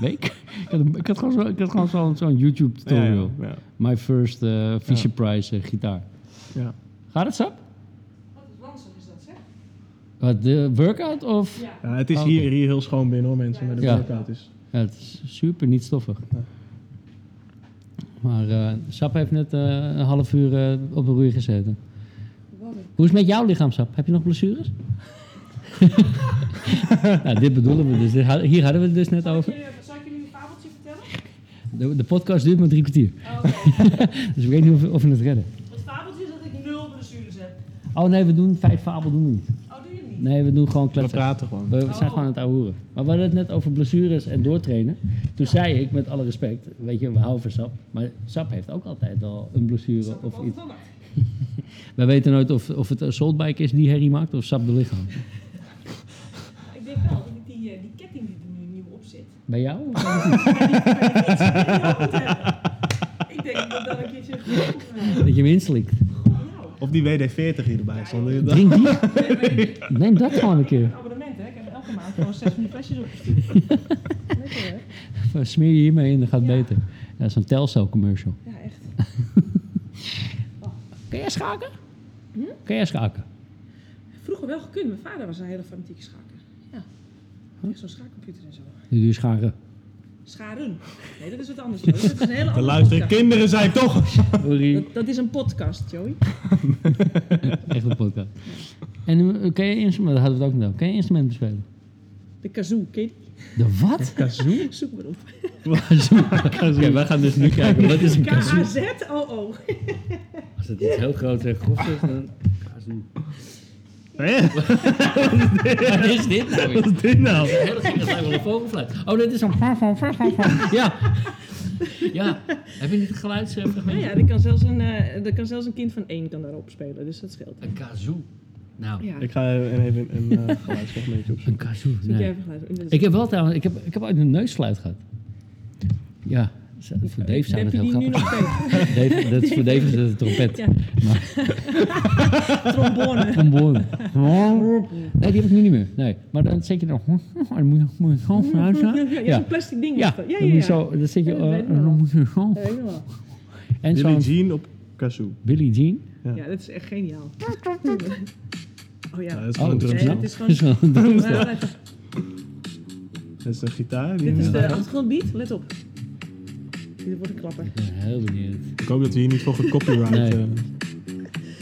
S2: Week? Ik had, een- ik had gewoon zo- ik had gewoon zo'n zo'n YouTube tutorial.
S3: Ja, ja.
S2: My first eh, Fisher Price eh, gitaar.
S3: ja.
S2: Gaat het, Sap?
S4: Wat ranzig is dat, zeg?
S2: Wat, de workout of? Ja.
S3: Ja, het is
S2: Oh,
S3: hier,
S2: oké.
S3: hier heel schoon binnen hoor mensen, maar de dus
S2: Ja.
S3: workout is...
S2: het is super niet stoffig. Maar eh, Sap heeft net eh, een half uur eh, op een roei gezeten. Hoe is het met jouw lichaam, Sap? Heb je nog blessures? nou, dit bedoelen we dus. Dit had- Hier hadden we het dus net over.
S4: Zal ik jullie een fabeltje vertellen?
S2: De, de podcast duurt maar drie kwartier. Dus ik weet niet of, of we het redden.
S4: Het fabeltje is dat ik nul blessures heb.
S2: Oh nee, we doen vijf fabel doen we niet.
S4: Oh, doe je niet?
S2: Nee, we doen gewoon
S3: We
S2: kletsen.
S3: praten gewoon.
S2: We zijn gewoon aan het ouwehoeren. Maar we hadden het net over blessures en doortrainen. Toen zei ik, met alle respect, weet je, we houden van Sap. Maar Sap heeft ook altijd al een blessure of iets. Wij weten nooit of, of het een soulbike is die herrie maakt of Sap de lichaam.
S4: Ik denk wel dat ik die, eh, die ketting die er nu nieuw op zit.
S2: Bij jou?
S4: Ik denk dat ik dat een keertje goed moet maken.
S2: Dat je hem inslikt.
S4: Nou,
S3: Of die WD-40 hier erbij stond. Dat-
S2: Drink die. Neem dat gewoon een keer.
S4: een abonnement hè. Ik heb elke maand gewoon zes van die flesjes op. Lekker hè?
S2: eh, Smeer je hiermee in, dan gaat het beter. Ja, zo'n Telcel commercial.
S4: Ja, echt.
S2: Kun jij schaken? Hm? Kun jij schaken?
S4: Vroeger wel gekund. Mijn vader was een hele fanatieke schaker. Ja. Echt zo'n schaakcomputer en zo.
S2: Nu doe je scharen.
S4: Scharen. Nee, dat is wat anders. Joey. Dat is een hele
S3: We
S4: andere
S3: luisteren,
S4: podcast.
S3: kinderen zijn toch!
S2: Sorry.
S4: Dat, dat is een podcast, Joey.
S2: Echt een podcast. En eh, kun je instrument, dat hadden we het ook nog over. Kun je instrument bespelen?
S4: De kazoo, ken je die?
S2: De wat?
S3: Kazoo?
S2: Hm?
S4: Zoek maar op.
S2: Oké, wij gaan dus nu kijken. Wat is een kazoo?
S4: K-A-Z-O-O.
S2: Als het iets heel groot en grof is, dan... Kazoo.
S3: Hé, wat
S2: Wat is dit nou weer?
S3: is dit nou?
S2: Oh, dat lijkt wel een vogelfluit. Oh, dit is een... Ja. Ja. Heb je niet het
S4: Nou
S2: geluidsfragment?
S4: ja, er kan, zelfs een, eh, er kan zelfs een kind van één kan daarop spelen, dus dat scheelt.
S2: Een kazoo. Nou,
S4: Ja,
S3: Ik ga even een eh geluidsfragmentje opzoeken.
S2: een kazoo.
S4: zoek jij
S2: Nee.
S4: even geluid. Dat is-
S2: Ik heb wel trouwens... Ik heb, ik heb ooit een neusfluit gehad. Ja. Voor Dave zou
S4: Heb
S2: dat
S4: je
S2: heel
S4: die nu
S2: grappig
S4: nog steeds?
S2: Dave, dat is voor Dave is dat een trompet.
S4: Ja.
S2: Maar
S4: Trombone.
S2: trombone. Nee, die heb ik nu niet meer. Nee. Maar dan zet je dan... Dan moet je- moet je gewoon vanuit
S4: Ja,
S2: gaan.
S4: ja,
S2: Ja.
S4: zo'n plastic ding.
S2: Ja,
S4: was dat. ja,
S2: dan
S4: ja.
S2: moet je
S4: ja.
S2: zo... Dan zit je...
S4: Ja, dat
S2: eh,
S4: weet ik
S2: dan
S4: nog.
S2: moet je zo...
S4: Ja, weet ik nog wel.
S2: En
S3: Billie
S2: zo'n
S3: Jean op kazoo.
S2: Billie Jean. Oh,
S4: Ja, dat is echt geniaal. Oh
S3: Ja,
S4: ja.
S3: dat is
S2: Oh,
S3: gewoon een
S2: dat is
S3: drumstel.
S4: Nee, dat is
S2: Dus
S4: gewoon...
S2: dan-
S4: Maar let-
S3: Dat is een gitaar. Die
S4: Dit is de achtergrondbeat, let op. Dit wordt een klapper.
S2: Ik ben heel benieuwd.
S3: Ik hoop dat we hier niet voor gecopyright...
S2: Nee.
S3: eh,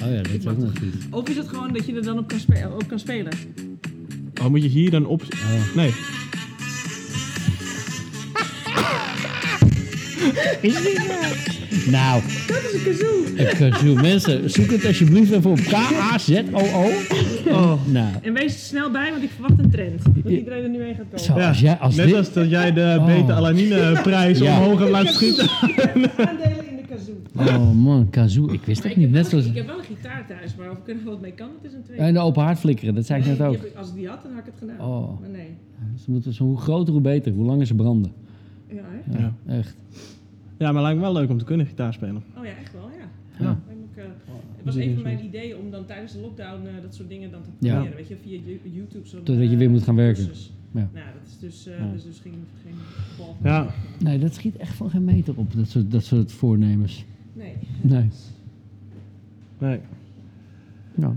S2: Oh ja, dat is ook nog goed.
S4: Of is het gewoon dat je er dan op kan, spe- op kan spelen?
S3: Oh, moet je hier dan op...
S2: Oh.
S3: Nee.
S2: Nou,
S4: Dat is een kazoo!
S2: ik ga zo mensen, zoek het alsjeblieft even op K-A-Z-O-O.
S3: Oh.
S2: Nou,
S4: En wees er snel bij, want ik verwacht een trend. Dat iedereen er nu heen gaat komen.
S2: zo,
S3: Ja,
S2: als jij, als
S3: net
S2: dit...
S3: als dat jij de
S2: Oh.
S3: beta-alanine-prijs
S2: Ja.
S3: omhoog hebt laten schieten.
S4: Aandelen in de kazoo. kazoo.
S2: Oh man, kazoo. Ik wist
S4: Maar
S2: dat
S4: ik,
S2: niet.
S4: heb
S2: Net
S4: wel,
S2: zoals...
S4: ik heb wel een gitaar thuis, maar of ik er wat mee kan, dat is een tweede.
S2: En de open haard flikkeren, dat zei ik
S4: Nee,
S2: net
S4: die
S2: ook.
S4: heb ik- als ik die had, dan had ik het gedaan.
S2: Oh.
S4: Maar nee.
S2: Ze moeten, zo, hoe groter, hoe beter. Hoe langer ze branden.
S4: Ja, hè?
S2: Ja,
S3: Ja.
S2: Echt.
S3: Ja, maar lijkt me wel leuk om te kunnen gitaar spelen.
S4: Oh ja, echt wel, ja.
S2: Ja. Oh,
S4: Lijkt me ook, eh, het
S3: dat
S4: was
S3: is
S4: een van
S3: niet.
S4: mijn ideeën om dan tijdens de lockdown eh, dat soort dingen dan te
S2: Ja.
S4: proberen. Weet je, via Ju- YouTube. Zo'n,
S2: Totdat je
S4: eh,
S2: weer moet gaan werken.
S4: cursus.
S2: Ja.
S4: Nou, dat is dus, eh,
S2: Ja.
S4: dus, dus geen, geen bal van.
S3: Ja.
S2: Nee, dat schiet echt van geen meter op, dat soort, dat soort voornemens.
S4: Nee.
S2: Nee.
S3: Nee.
S2: Nou.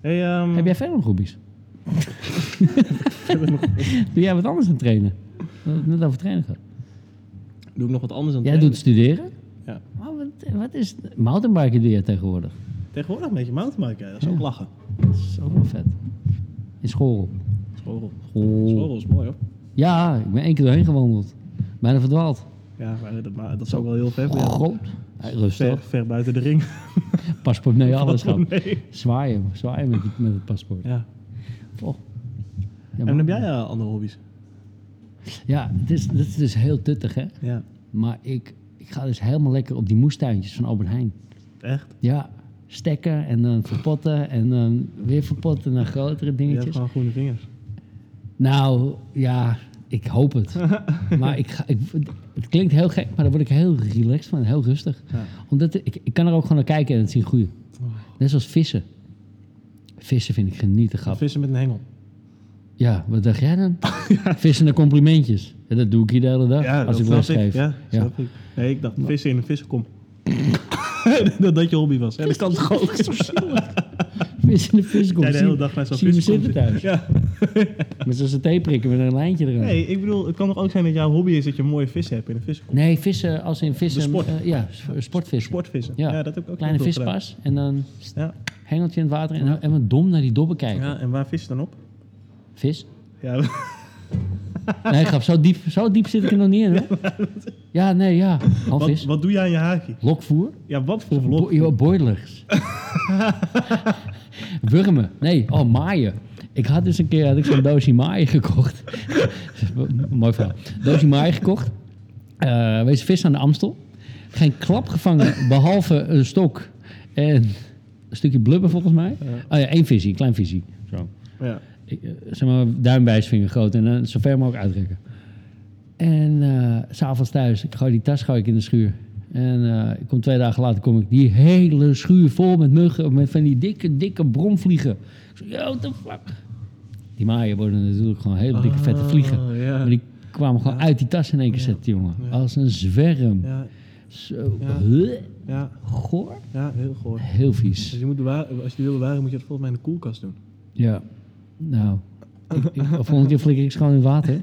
S3: Hey, ehm,
S2: Heb jij verder nog hobby's?
S3: verder nog-
S2: Doe jij wat anders dan trainen? We hadden het net over trainen gehad.
S3: doe ik nog wat anders dan
S2: Jij
S3: trainen?
S2: doet studeren?
S3: Ja.
S2: Maar wat, wat is mountainbiken doe jij tegenwoordig?
S3: Tegenwoordig een beetje mountainbiken, hè. dat is ook
S2: Ja.
S3: lachen.
S2: Dat is ook wel vet. In school.
S3: Schorrel.
S2: School.
S3: Schorrel is mooi hoor.
S2: Ja, ik ben één keer doorheen gewandeld. Bijna verdwaald.
S3: Ja, maar dat, maar dat is ook wel heel ver. maar ja,
S2: Groot. Ja,
S3: ver,
S2: rustig.
S3: ver buiten de ring.
S2: Paspoort nee, alles gaat.
S3: Nee.
S2: Zwaaien. Zwaaien met, die- met het paspoort.
S3: Ja.
S2: Oh. Ja,
S3: En
S2: man.
S3: heb jij eh, andere hobby's?
S2: Ja, het is, dat is dus heel tuttig, hè?
S3: Ja.
S2: Maar ik, ik ga dus helemaal lekker op die moestuintjes van Albert Heijn.
S3: Echt?
S2: Ja, stekken en dan verpotten en dan weer verpotten en dan grotere
S3: Je hebt
S2: dingetjes.
S3: gewoon groene vingers.
S2: Nou, ja, ik hoop het. maar ik ga, ik, het klinkt heel gek, maar daar word ik heel relaxed van, heel rustig.
S3: Ja. Oh.
S2: Omdat ik, ik kan er ook gewoon naar kijken en het zien groeien. Net zoals vissen. Vissen vind ik genieten, grap.
S3: Vissen met een hengel.
S2: Ja, wat dacht jij dan? Vissen naar complimentjes. Ja, dat doe ik hier de hele dag als ik
S3: snap
S2: les geef.
S3: Ja, snap ik. Nee, ik dacht vissen in een vissenkom. dat dat je hobby was. Ja, dat kan toch ook.
S2: Vissen in de viskom.
S3: Jij de
S2: Zie-
S3: hele dag naar zo'n
S2: zie je me
S3: vissenkom
S2: zitten thuis.
S3: Ja.
S2: Met zo'n thee prikken met een lijntje eraan. Nee,
S3: Nee, ik bedoel, het kan toch ook zijn dat jouw hobby is dat je mooie vissen hebt in een vissenkom.
S2: vissen als in vissen.
S3: De sport.
S2: eh, ja, s- sportvissen.
S3: Sportvissen.
S2: Ja.
S3: Ja. dat heb ik ook
S2: Kleine
S3: nog gedaan.
S2: vispas en dan st-
S3: Ja.
S2: hengeltje in het water en, en wat dom naar die dobben kijken.
S3: ja, en waar vis je dan op?
S2: Vis?
S3: Ja,
S2: Nee, grap, zo diep, zo diep zit ik er nog niet in. Hoor. Ja, nee, ja. Gewoon
S3: wat,
S2: vis.
S3: wat doe jij aan je haakje?
S2: Lokvoer.
S3: Ja, wat voor
S2: Bo
S3: vlog?
S2: joh, boilers. Wurmen. Nee, oh, maaien. Ik had dus een keer had ik zo'n doosje maaien gekocht. Mooi verhaal. Doosje maaien gekocht. Eh wees vis aan de Amstel. Geen klap gevangen, behalve een stok en een stukje blubber volgens mij. Oh ja, één visie, een klein visie. Zo.
S3: Ja.
S2: Ik, eh, zeg maar duimwijsvinger groot en dan zover mogelijk uitrekken. En eh, s s'avonds thuis, ik gooi die tas gooi ik in de schuur. En eh, ik kom twee dagen later, kom ik die hele schuur vol met muggen, met van die dikke, dikke bromvliegen. Ik zo, yo, what the fuck. Die maaien worden natuurlijk gewoon hele dikke, vette vliegen.
S3: Ah, ja.
S2: Maar die kwamen gewoon uit die tas in één keer zitten, jongen.
S3: Ja.
S2: Als een zwerm.
S3: Ja,
S2: Zo,
S3: Ja.
S2: huh,
S3: ja,
S2: goor.
S3: ja, heel goor.
S2: Heel vies.
S3: Dus je moet bewaren, als je die wil bewaren, moet je dat volgens mij in de koelkast doen.
S2: Ja, nou. Ik, ik, volgende keer flikker ik ze gewoon in water.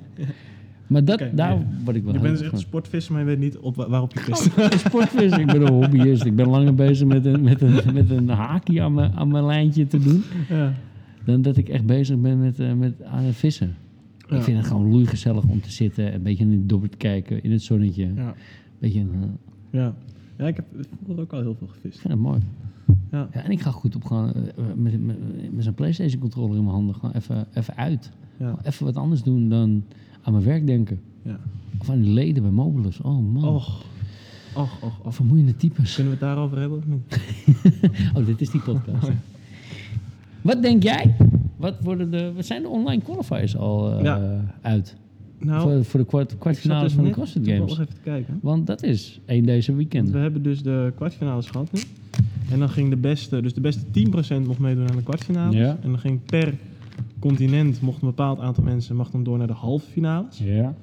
S2: Maar dat,
S3: Oké,
S2: daar
S3: ja.
S2: word ik wel
S3: Je bent dus
S2: heel
S3: echt
S2: erg
S3: een sportvisser, maar je weet niet op, wa- waarop je vist.
S2: van. sportvis. Ik ben een hobbyist. Ik ben langer bezig met een, met een, met een haakje aan mijn, aan mijn lijntje te doen.
S3: Ja.
S2: Dan dat ik echt bezig ben met, eh, met aan het vissen.
S3: Ja.
S2: Ik vind het gewoon loeigezellig om te zitten. Een beetje in het dobber te kijken. In het zonnetje. Een
S3: Ja.
S2: beetje, eh, ik
S3: Ja. ja, ik heb vroeger ook al heel veel gevist.
S2: vind het mooi.
S3: Ja.
S2: Ja, en ik ga goed op gewoon eh, met, met, met zo'n Playstation controller in mijn handen. Gewoon even, even uit.
S3: Ja.
S2: Even wat anders doen dan aan mijn werk denken.
S3: Ja.
S2: Of aan die leden bij Mobilus. Oh man.
S3: Och, och, och,
S2: Wat
S3: och.
S2: vermoeiende types.
S3: Kunnen we het daarover hebben of niet?
S2: Oh, dit is die podcast. Wat denk jij? Wat, worden de, wat zijn de online qualifiers al eh,
S3: Ja.
S2: uit?
S3: Nou,
S2: voor, voor de kwart,
S3: ik zat
S2: kwartfinales
S3: dus
S2: van de
S3: net
S2: CrossFit
S3: toevallig
S2: Games.
S3: even te kijken.
S2: Want dat is één deze
S3: Want
S2: weekend.
S3: we hebben dus de kwartfinales gehad nu. En dan ging de beste, dus de beste 10% mocht meedoen aan de kwartfinales.
S2: Ja.
S3: En dan ging per continent mocht een bepaald aantal mensen mocht dan door naar de halve finales.
S2: Ja,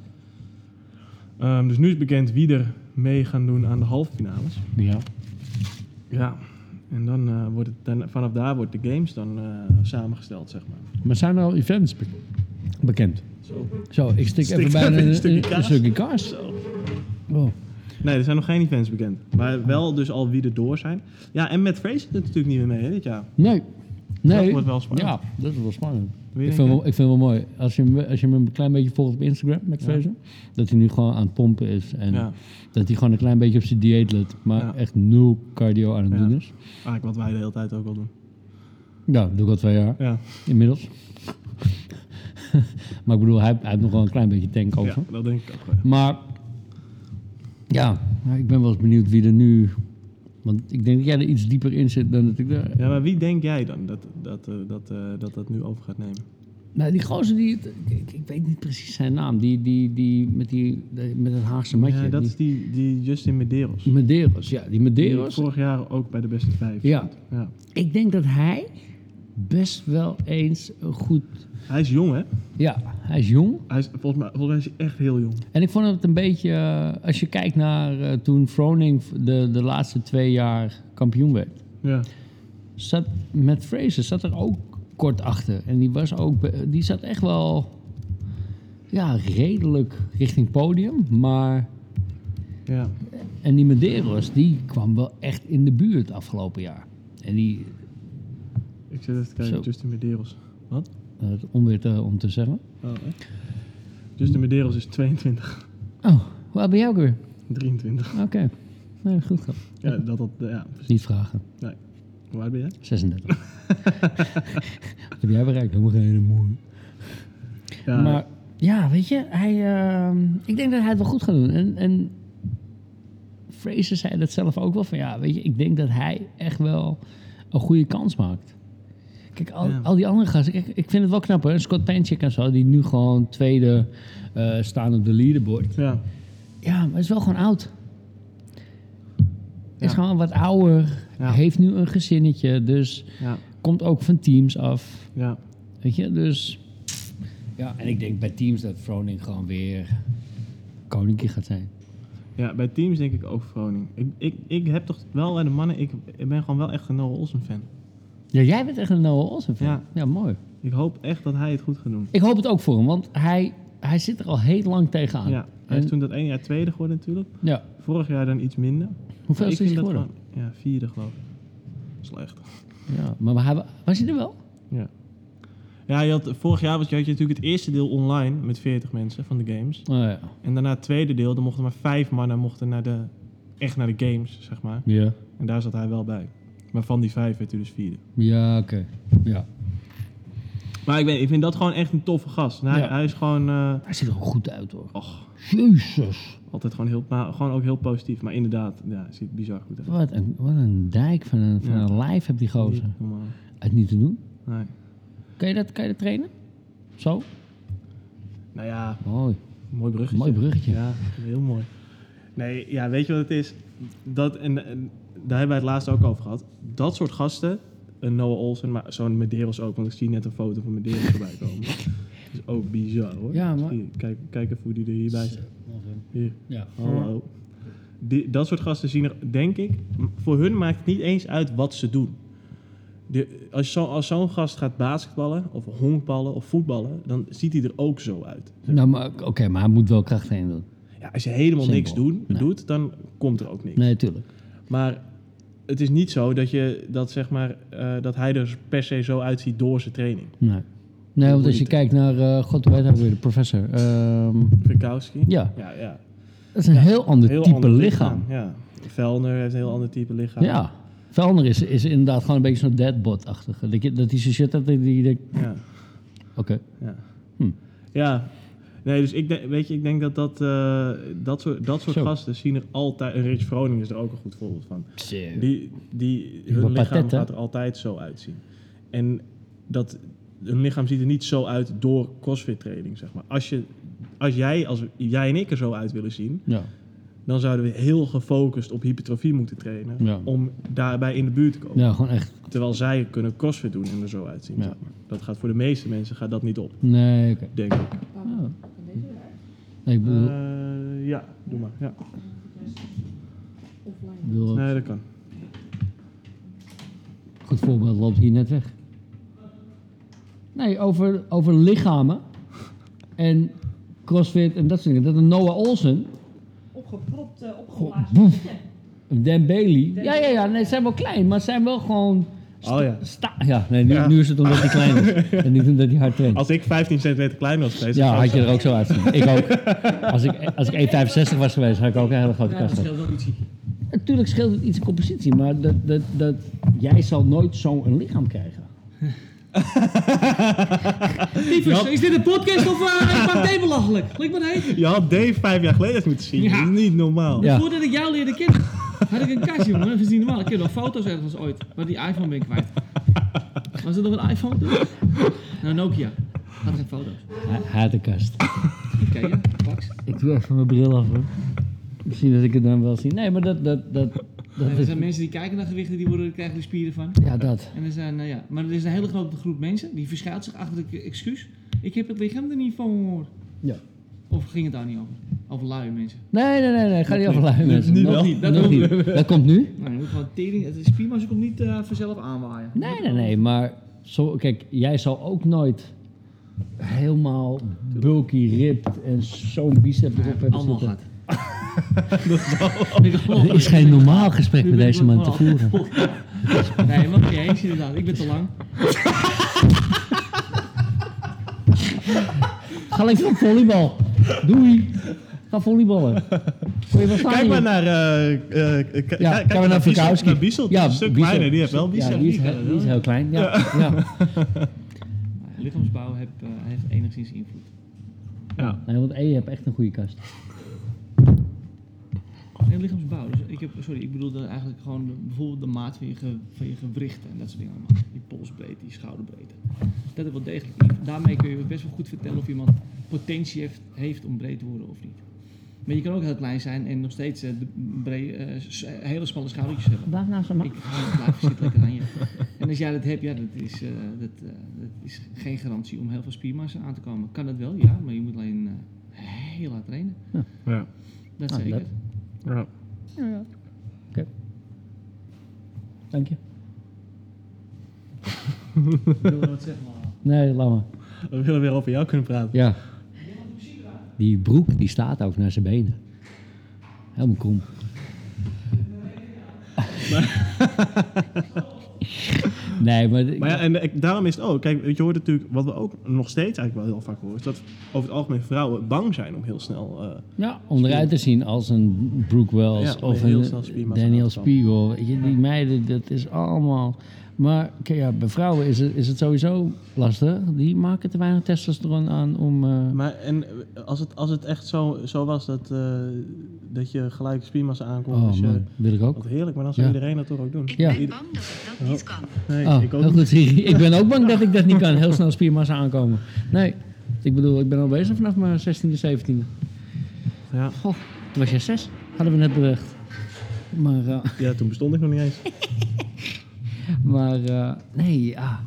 S3: Ehm, dus nu is bekend wie er mee gaan doen aan de halve finales.
S2: ja.
S3: Ja. En dan eh, wordt het, dan, vanaf daar wordt de games dan eh, samengesteld, zeg maar.
S2: Maar zijn er al events be- bekend?
S3: Zo.
S2: Zo, ik stik
S3: Stik
S2: even
S3: even
S2: bijna
S3: een
S2: een,
S3: stukje
S2: een, een
S3: kaas.
S2: stukje kaas. Oh.
S3: Nee, er zijn nog geen events bekend. Maar wel dus al wie er door zijn. Ja, en Matt Fraser doet natuurlijk niet meer mee hè, dit jaar.
S2: Nee. Nee.
S3: Dat wordt wel spannend.
S2: Ja, dat is wel spannend. Ik
S3: Wie denk
S2: vind,
S3: je?
S2: wel, ik vind wel mooi. Als je, hem, als je hem een klein beetje volgt op Instagram, met
S3: Ja.
S2: Fraser, dat hij nu gewoon aan het pompen is. En
S3: Ja.
S2: dat hij gewoon een klein beetje op zijn dieet let, maar
S3: Ja.
S2: echt nul cardio aan het
S3: Ja.
S2: doen is.
S3: Eigenlijk wat wij de hele tijd ook al doen.
S2: Ja, dat doe ik al twee jaar
S3: Ja,
S2: inmiddels. maar ik bedoel, hij, hij heeft nog wel een klein beetje tank over.
S3: ja dat denk ik ook wel.
S2: Maar Ja, maar ik ben wel eens benieuwd wie er nu... Want ik denk dat jij er iets dieper in zit dan dat ik daar...
S3: Ja, maar wie denk jij dan dat dat, eh, dat, eh, dat, dat nu over gaat nemen?
S2: Nou, die gozer die... het- Ik, ik- ik weet niet precies zijn naam. Die, die, die, met, die, die- met het Haagse matje.
S3: ja, dat
S2: die,
S3: is die, die Justin Medeiros.
S2: Medeiros, ja. Die
S3: Die
S2: Medeiros.
S3: vorig jaar ook bij de beste vijf.
S2: Ja.
S3: stond. ja.
S2: Ik denk dat hij best wel eens een goed...
S3: Hij is jong, hè?
S2: Ja, hij is jong.
S3: Hij is, volgens, mij, volgens mij is hij echt heel jong.
S2: En ik vond het een beetje... eh, Als je kijkt naar eh, toen Froning de, de laatste twee jaar kampioen werd.
S3: Ja.
S2: Zat, met Fraser zat er ook kort achter. En die, was ook, be- die zat echt wel... Ja, redelijk richting podium. Maar...
S3: ja.
S2: En die Medeiros, die kwam wel echt in de buurt afgelopen jaar. En die,
S3: Ik zit even te kijken,
S2: Zo.
S3: Justin Medeiros. Wat?
S2: eh, het onweer te- om te zeggen.
S3: Oh, hè? Justin Medeiros is 22,
S2: Oh, hoe oud ben jij ook weer?
S3: 23.
S2: Oké. Nee, goed zo.
S3: Ja, dat, dat, ja, precies.
S2: Niet vragen.
S3: Hoe oud ben jij?
S2: 36. Wat heb jij bereikt? Helemaal geen hele moe.
S3: Ja,
S2: Maar ja, weet je, hij, ehm, ik denk dat hij het wel goed gaat doen. En, en Fraser zei dat zelf ook wel van ja, weet je, ik denk dat hij echt wel een goede kans maakt. Kijk, al,
S3: Ja.
S2: al die andere gasten, kijk, ik vind het wel knap hoor. Scott Panchik en zo, die nu gewoon tweede eh, staan op de leaderboard.
S3: ja.
S2: Ja, maar hij is wel gewoon oud. Hij Is
S3: Ja.
S2: gewoon wat ouder,
S3: Ja.
S2: heeft nu een gezinnetje, dus
S3: ja,
S2: komt ook van teams af.
S3: ja.
S2: Weet je, dus... Ja, en ik denk bij teams dat Froning gewoon weer koninkje gaat zijn.
S3: Ja, bij teams denk ik ook Vroning. Ik, ik, ik heb toch wel bij de mannen, ik, ik ben gewoon wel echt een Noah Olsen fan.
S2: Ja, jij bent echt een Noah Olsen fan. Ja.
S3: Ja.
S2: mooi.
S3: Ik hoop echt dat hij het goed gaat doen.
S2: Ik hoop het ook voor hem, want hij, hij zit er al heel lang tegenaan.
S3: Ja, hij
S2: Ah, En-
S3: is toen dat één jaar tweede geworden natuurlijk.
S2: ja.
S3: Vorig jaar dan iets minder.
S2: Hoeveel
S3: Maar
S2: is
S3: ik
S2: hij
S3: vind dat
S2: geworden?
S3: gewoon- ja, vierde geloof ik. Slecht.
S2: Ja, maar hij, was hij er wel?
S3: Ja. Ja, je had, vorig jaar was, had je natuurlijk het eerste deel online met 40 mensen van de games.
S2: Oh ja.
S3: En daarna het tweede deel, dan mochten maar vijf mannen mochten naar de, echt naar de games, zeg maar.
S2: Ja.
S3: En daar zat hij wel bij. Maar van die vijf werd hij dus vierde.
S2: Ja, oké. Ja.
S3: Maar ik, weet, ik vind dat gewoon echt een toffe gast. En Hij,
S2: Ja.
S3: hij is gewoon... eh,
S2: Hij ziet er ook goed uit, hoor.
S3: och,
S2: Jezus.
S3: altijd gewoon heel... Maar gewoon ook heel positief. Maar inderdaad, ja, hij ziet bizar goed uit.
S2: Wat een, wat een dijk van een, van
S3: Ja.
S2: een lijf heb die gozer.
S3: Niet normaal.
S2: Het niet te doen.
S3: Nee.
S2: Kan je dat, kan je dat trainen? Zo?
S3: Nou ja,
S2: Mooi.
S3: mooi bruggetje.
S2: Mooi bruggetje.
S3: Ja, heel mooi. Nee, ja, weet je wat het is? Dat, en, en daar hebben wij het laatst ook over gehad. Dat soort gasten, een Noah Olsen, maar zo'n Medeiros ook, want ik zie net een foto van Medeiros voorbij komen. Dat is ook bizar hoor.
S2: Ja, maar-
S3: Hier, kijk, kijk even hoe die er hierbij zit. Hier,
S2: Ja.
S3: hallo. Die, dat soort gasten zien er, denk ik, m- voor hun maakt het niet eens uit wat ze doen. De, als zo- als zo'n gast gaat basketballen, of honkballen, of voetballen, dan ziet hij er ook zo uit.
S2: Nou, maar oké, maar hij moet wel kracht heen doen.
S3: Ja, als je helemaal
S2: Simpel.
S3: niks doen,
S2: Nee.
S3: doet, dan komt er ook niks.
S2: Nee, tuurlijk.
S3: Maar het is niet zo dat, je, dat, zeg maar, eh, dat hij er per se zo uitziet door zijn training.
S2: Nee. Nee, want als je kijkt naar, eh, god, hoe heet hij ook weer, de professor. Ehm,
S3: Fikowski?
S2: ja,
S3: Ja, ja.
S2: dat is een heel ander
S3: Heel
S2: type
S3: ander
S2: lichaam.
S3: Ja. Velner heeft een heel ander type lichaam.
S2: Ja. Velner is, is inderdaad gewoon een beetje zo'n deadbot-achtige. Dat, je- dat hij zijn shit had, dat die denkt,
S3: Ja.
S2: oké.
S3: ja.
S2: Hm.
S3: Ja. Nee, dus ik, denk- weet je, ik denk dat dat, eh, dat soort, dat soort
S2: Zo.
S3: gasten zien er altijd... En Rich Vroning is er ook een goed voorbeeld van. Die, die,
S2: maar
S3: hun lichaam
S2: patet, hè?
S3: gaat er altijd zo uitzien. En dat, hun lichaam ziet er niet zo uit door crossfit training, zeg maar. Als, je, als, jij, als jij en ik er zo uit willen zien,
S2: Ja.
S3: dan zouden we heel gefocust op hypertrofie moeten trainen.
S2: Ja.
S3: Om daarbij in de buurt te komen.
S2: ja, gewoon echt.
S3: Terwijl zij kunnen crossfit doen en er zo uitzien.
S2: Ja.
S3: Zeg maar. Dat gaat voor de meeste mensen gaat dat niet op,
S2: Nee, oké.
S3: denk ik.
S2: Oh.
S4: Van deze daar?
S2: Nee, ik bedoel,
S3: Eh, ja, doe maar. Ja.
S4: Offline.
S2: ik bedoel,
S3: Nee, dat kan.
S2: goed voorbeeld loopt hier net weg. Nee, over, over lichamen en crossfit en dat soort dingen. Dat een Noah Olsen
S4: Opgepropt, eh, opgeblazen.
S2: Dan Bailey. Ja, ja, ja. Nee, ze zijn wel klein, maar ze zijn wel gewoon... sta-
S3: Oh ja.
S2: sta- ja, nee, nu,
S3: Ja.
S2: nu is het omdat hij klein is. En niet omdat hij hard traint.
S3: Als ik 15 centimeter kleiner was geweest,
S2: Ja,
S3: dan
S2: had je er ook zo uitzien. Ik ook. Als ik, als ik 1,65 was geweest, had ik ook een hele grote
S1: Ja,
S2: kast
S1: dat
S2: gehad.
S1: scheelt wel ietsje.
S2: Natuurlijk scheelt het iets in compositie, maar dat, dat, dat, jij zal nooit zo'n lichaam krijgen.
S1: Tyfus,
S3: Ja.
S1: is dit een podcast of eh ik maak Dave belachelijk? Lijkt me dat heet.
S3: Je had Dave vijf jaar geleden eens moeten zien.
S1: Ja.
S3: Dat is niet normaal.
S2: Ja.
S1: Voordat ik jou leerde kennen, had ik een kastje, jongen. Even zien normaal. Ik heb nog foto's ergens ooit, maar die iPhone ben ik kwijt. Was het nog een iPhone toen? Nou, Nokia. Had geen foto's.
S2: Ha- Hatenkast.
S1: Oké, ja. Pax.
S2: Ik doe even mijn bril af hoor. Misschien dat ik het dan wel zie. Nee, maar dat... dat, dat, dat
S1: Er zijn mensen die kijken naar gewichten, die worden, krijgen er spieren van.
S2: Ja, dat.
S1: En er zijn, nou ja, maar er is een hele grote groep mensen die verschuilt zich achter het excuus. Ik heb het lichaam er niet voor.
S2: Ja.
S1: Of ging het daar niet over? Over luie mensen.
S2: Nee, nee, nee, nee. Ga niet afluiden
S3: Nu-
S2: mensen.
S3: nu
S2: Nog
S3: wel.
S2: niet,
S1: Dat
S2: nog
S1: ook.
S2: niet. Dat komt nu.
S1: Nou, je moet gewoon tering, het is prima, ze komt niet eh, vanzelf aanwaaien.
S2: Nee, nee, nee, maar zo, kijk, jij zal ook nooit helemaal bulky ripped en zo'n bicep erop hebben
S1: allemaal
S2: zitten.
S1: gehad. Ik heb allemaal
S2: Er is geen normaal gesprek
S1: Nu
S2: met
S1: ben ik
S2: deze man te
S1: wel-
S2: voeren.
S1: Nee, maar niet eens inderdaad. Ik ben te lang.
S2: Ga lekker op volleybal. Doei. Ga volleyballen. Kon je wel staan
S3: Kijk
S2: hier?
S3: maar naar... eh, eh, k- kijk- kijk
S2: Ja,
S3: maar
S2: kijk maar naar
S3: Biesel-
S2: Verkouski.
S3: naar Biesel. Die is een stuk
S2: Biesel.
S3: kleiner. Die heeft wel Biesel.
S2: Ja, die is, heel- die is heel klein. Ja. Ja.
S1: Lichaamsbouw heb, eh, heeft enigszins invloed.
S3: Ja.
S2: Nee, want E, je hebt echt een goede kast.
S1: Nee, lichaamsbouw. Dus ik heb, sorry, ik bedoel dan eigenlijk gewoon de- bijvoorbeeld de maat van je, ge- van je gewrichten en dat soort dingen allemaal. Die polsbreedte, die schouderbreedte. Dat heeft wel degelijk invloed. Daarmee kun je best wel goed vertellen of iemand potentie heeft, heeft om breed te worden of niet. Maar je kan ook heel klein zijn en nog steeds eh, de bree- eh, s- eh, hele smalle schoudertjes hebben.
S2: Blijf nou zo
S1: Ik blijf zitten lekker aan je. En als jij dat hebt, ja, dat is, eh, dat, eh, dat is geen garantie om heel veel spiermassa aan te komen. Kan dat wel, ja, maar je moet alleen eh, heel hard trainen.
S3: Ja.
S1: Dat
S2: Ah,
S1: zeker.
S2: dat-
S3: Ja.
S2: Dank je.
S1: Ik wilde wat zeggen, maar...
S2: Nee, laat maar.
S3: We willen weer over jou kunnen praten.
S2: Ja. Die broek die staat ook naar zijn benen. Helemaal krom. nee, maar,
S3: Maar ja, en eh, ik- daarom is het ook. Kijk, je hoort natuurlijk, wat we ook nog steeds eigenlijk wel heel vaak horen, is dat over het algemeen vrouwen bang zijn om heel snel. eh,
S2: ja, om eruit te zien als een Brooke Wells
S3: Ja, om
S2: of
S3: heel
S2: een
S3: snel spiermassa
S2: Daniel
S3: aan te komen.
S2: Spiegel. Weet je, die meiden, dat is allemaal... Maar kijk, ja, bij vrouwen is het, is het sowieso lastig. Die maken te weinig testosteron aan om... eh,
S3: maar en eh, als het, als het echt zo, zo was dat, eh, dat je gelijk spiermassa aankomt,
S2: oh
S3: dus je,
S2: man, wil ik ook.
S3: wat heerlijk, maar dan zou
S2: Ja.
S3: iedereen dat toch ook doen?
S5: Ik
S2: Ja.
S5: ben bang dat ik dat niet kan.
S3: Nee,
S2: Oh,
S3: ik ook
S2: heel
S3: niet.
S2: goed, Siri. Ik ben ook bang dat ik dat niet kan. Heel snel spiermassa aankomen. Nee, ik bedoel, ik ben al bezig vanaf mijn 16e, 17e.
S3: Ja.
S2: Goh, toen was jij 6, hadden we net bedacht. Maar, eh,
S3: ja, toen bestond ik nog niet eens.
S2: maar eh, nee, ja.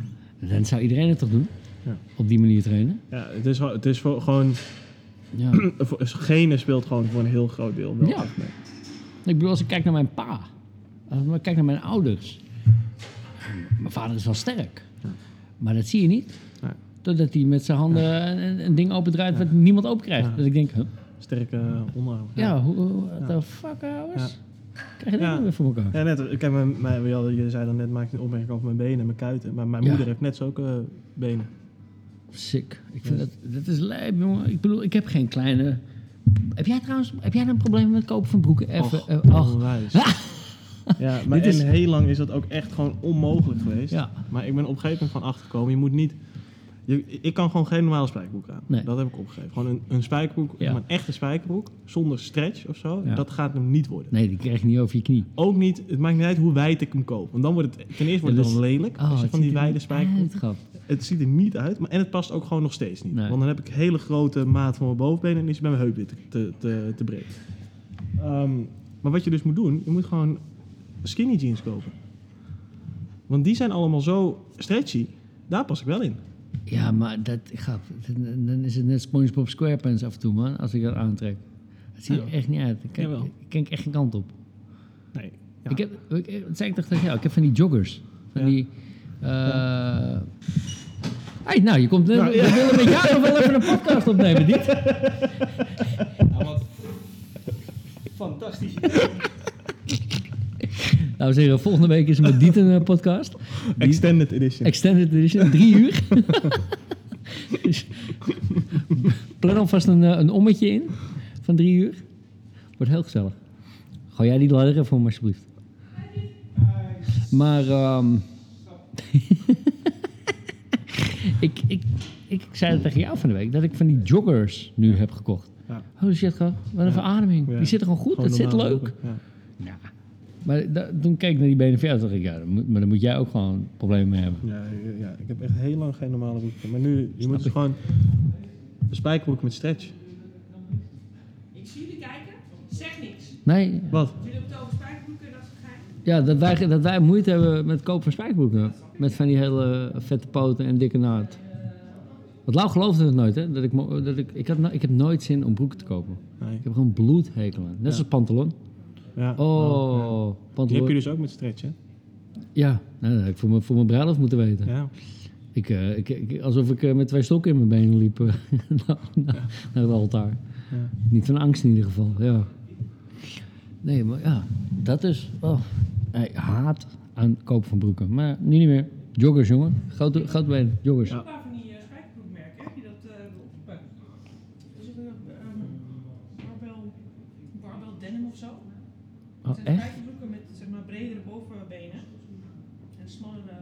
S2: Dan zou iedereen het toch doen?
S3: Ja.
S2: Op die manier trainen?
S3: Ja, het is, wel- het is voor, gewoon,
S2: Ja.
S3: voor- genen speelt gewoon voor een heel groot deel wel
S2: Ja.
S3: echt mee.
S2: Ik bedoel, als ik kijk naar mijn pa, als ik kijk naar mijn ouders. Mijn vader is wel sterk, maar dat zie je niet.
S3: Nee.
S2: Totdat hij met zijn handen een, een ding opendraait wat niemand openkrijgt.
S3: Ja.
S2: Dat ik denk, huh?
S3: Sterke eh, onderarmen.
S2: Ja, hoe, hoe- what the fuck, ouders? Krijg je dat
S3: Ja.
S2: nou weer voor elkaar?
S3: Ja, net, eh, kijk, mijn, mijn, we hadden- je zei dan net, maak ik een opmerking over mijn benen en mijn kuiten. Maar mijn
S2: Ja.
S3: moeder heeft net zulke eh, benen.
S2: Sick. Ik vind dat, dat is lijp, jongen. Ik bedoel, ik heb geen kleine... Heb jij trouwens heb jij een probleem met het kopen van broeken? Even, eh, ach.
S3: Onwijs. Ja, maar
S2: Dit is-
S3: en heel lang is dat ook echt gewoon onmogelijk geweest.
S2: Ja.
S3: Maar ik ben op een gegeven moment van achtergekomen. Je moet niet... je- ik kan gewoon geen normale spijkerbroek aan.
S2: Nee.
S3: Dat heb ik opgegeven. Gewoon een, een spijkerbroek,
S2: Ja.
S3: maar een echte spijkerbroek, zonder stretch of zo.
S2: Ja.
S3: Dat gaat hem niet worden.
S2: Nee, die krijg je niet over je knie.
S3: Ook niet, het maakt niet uit hoe wijd ik hem koop. Want dan wordt het, ten eerste wordt
S2: Ja,
S3: het
S2: dus-
S3: dan lelijk.
S2: Oh,
S3: als je
S2: het
S3: van
S2: ziet
S3: die
S2: er
S3: wijde
S2: niet
S3: spijkerbroek.
S2: uit, grap.
S3: Het ziet er niet uit. Maar, en het past ook gewoon nog steeds niet.
S2: Nee.
S3: Want dan heb ik hele grote maat van mijn bovenbenen en is het bij mijn heup weer te, te, te, te breed. Ehm, maar wat je dus moet doen, je moet gewoon skinny jeans kopen. Want die zijn allemaal zo stretchy. Daar pas ik wel in.
S2: Ja, maar dat, grap, dan- dan is het net Spongebob Squarepants af en toe, man. Als ik dat aantrek. Dat ziet er echt niet uit. Ik kijk,
S3: Jawel.
S2: ik kijk echt geen kant op.
S3: Nee. Ja.
S2: Ik heb, ik, ik- dat zei ik toch tegen jou, ik heb van die joggers. Van
S3: Ja.
S2: die... eh hey, nou, je komt... We,
S3: Nou, ja.
S2: we willen met jou nog wel even een podcast opnemen, niet?
S3: Nou,
S1: Ja, wat fantastisch.
S2: Nou, zeggen, volgende week is er met Diet een eh, podcast. Die-
S3: Extended edition.
S2: extended edition, drie uur. dus, plan alvast een, eh, een ommetje in van drie uur. Wordt heel gezellig. Gooi jij die ladder even om, alsjeblieft. Maar, ehm Ik, ik, ik zei het tegen jou van de week, dat ik van die joggers nu heb gekocht.
S3: Ja.
S2: Holy shit, gewoon, wat een
S3: Ja.
S2: verademing.
S3: Ja.
S2: Die zitten gewoon goed,
S3: Gewoon
S2: dat zit
S3: normaal
S2: leuk.
S3: lopen, Ja.
S2: Ja. Maar da- toen keek ik naar die benen van jou, dacht ik, ja, dan moet- maar dan moet jij ook gewoon problemen mee hebben.
S3: Ja, ja, ja, ik heb echt heel lang geen normale broek. meer. Maar nu, je moet dus
S2: ik.
S3: gewoon een spijkerbroek met stretch.
S4: Ik zie jullie kijken, zeg niks.
S2: Nee,
S3: Wat?
S4: Jullie hebben het over spijkerbroeken en dat soort gein.
S2: ja, dat, wij, dat wij moeite hebben met kopen van spijkerbroeken. Met van die hele vette poten en dikke naad. Want Lau geloofde het nooit, hè? Dat ik, mo- dat ik, ik, had, no- ik heb nooit zin om broeken te kopen.
S3: Nee.
S2: Ik heb gewoon bloedhekel aan. Net
S3: Ja.
S2: als pantalon.
S3: Ja. ja.
S2: Oh,
S3: Die heb je
S2: pantalon.
S3: dus ook met stretch, hè?
S2: Ja, nou, dat had ik voor mijn, voor mijn bruiloft moeten weten.
S3: Ja.
S2: Ik, eh, ik, ik- alsof ik eh, met twee stokken in mijn benen liep eh, na- na- naar het altaar.
S3: Ja.
S2: Niet van angst in ieder geval, ja. Nee, maar ja, dat is... Oh, nee, haat aan koop van broeken. Maar nu niet meer. Joggers, jongen. Grote, grote benen, joggers.
S3: Ja.
S4: Een paar van die eh, spijkerbroekmerken, heb je dat eh opgepakt? Dus ik barbel, barbel denim of zo.
S2: Oh,
S4: Het zijn
S2: echt?
S4: spijkerbroeken met zeg maar bredere bovenbenen en smallere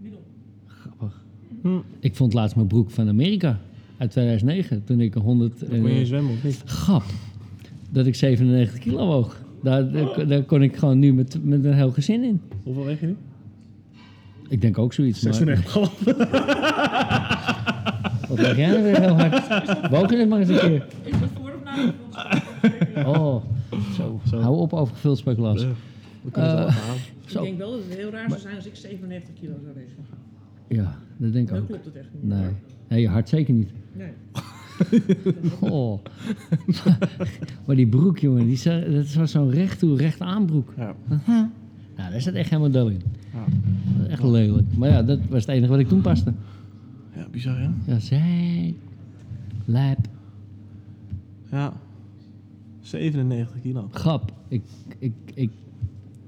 S4: middel.
S2: Grappig.
S3: Hm.
S2: Ik vond laatst mijn broek van Amerika uit 2009. Toen ik 100...
S3: Dan kon je in zwemmen, of niet?
S2: grap dat ik 97 kilo woog. Daar, daar, daar kon ik gewoon nu met, met een heel gezin in.
S3: Hoeveel weeg je nu?
S2: Ik denk ook zoiets. Maar,
S3: 36,5.
S2: wat denk jij nou weer heel hard? Woken het maar eens een keer.
S4: Is dat voor of na de spijkerbroek?
S2: Oh, zo.
S3: Zo.
S2: Hou op over gevuld speculatie.
S3: We kunnen het
S2: Eh.
S3: wel gaan.
S2: Zo.
S4: Ik denk wel dat het heel raar zou zijn als ik 97 kilo zou wegen.
S2: Ja, dat denk ik
S4: Dan
S2: ook.
S4: klopt het echt niet.
S2: Nee. nee, je hart zeker niet.
S4: Nee.
S2: Goh. maar die broek, jongen, die, zag- dat was zo'n recht toe, recht aan broek.
S3: Ja.
S2: Nou, daar zit echt helemaal dol in.
S3: Ja.
S2: Dat is Echt lelijk. Maar ja, dat was het enige wat ik toen paste.
S3: ja, bizar, hè?
S2: Ja, zij. Lijp.
S3: Ja. 97 kilo.
S2: Grap. Ik, ik, ik.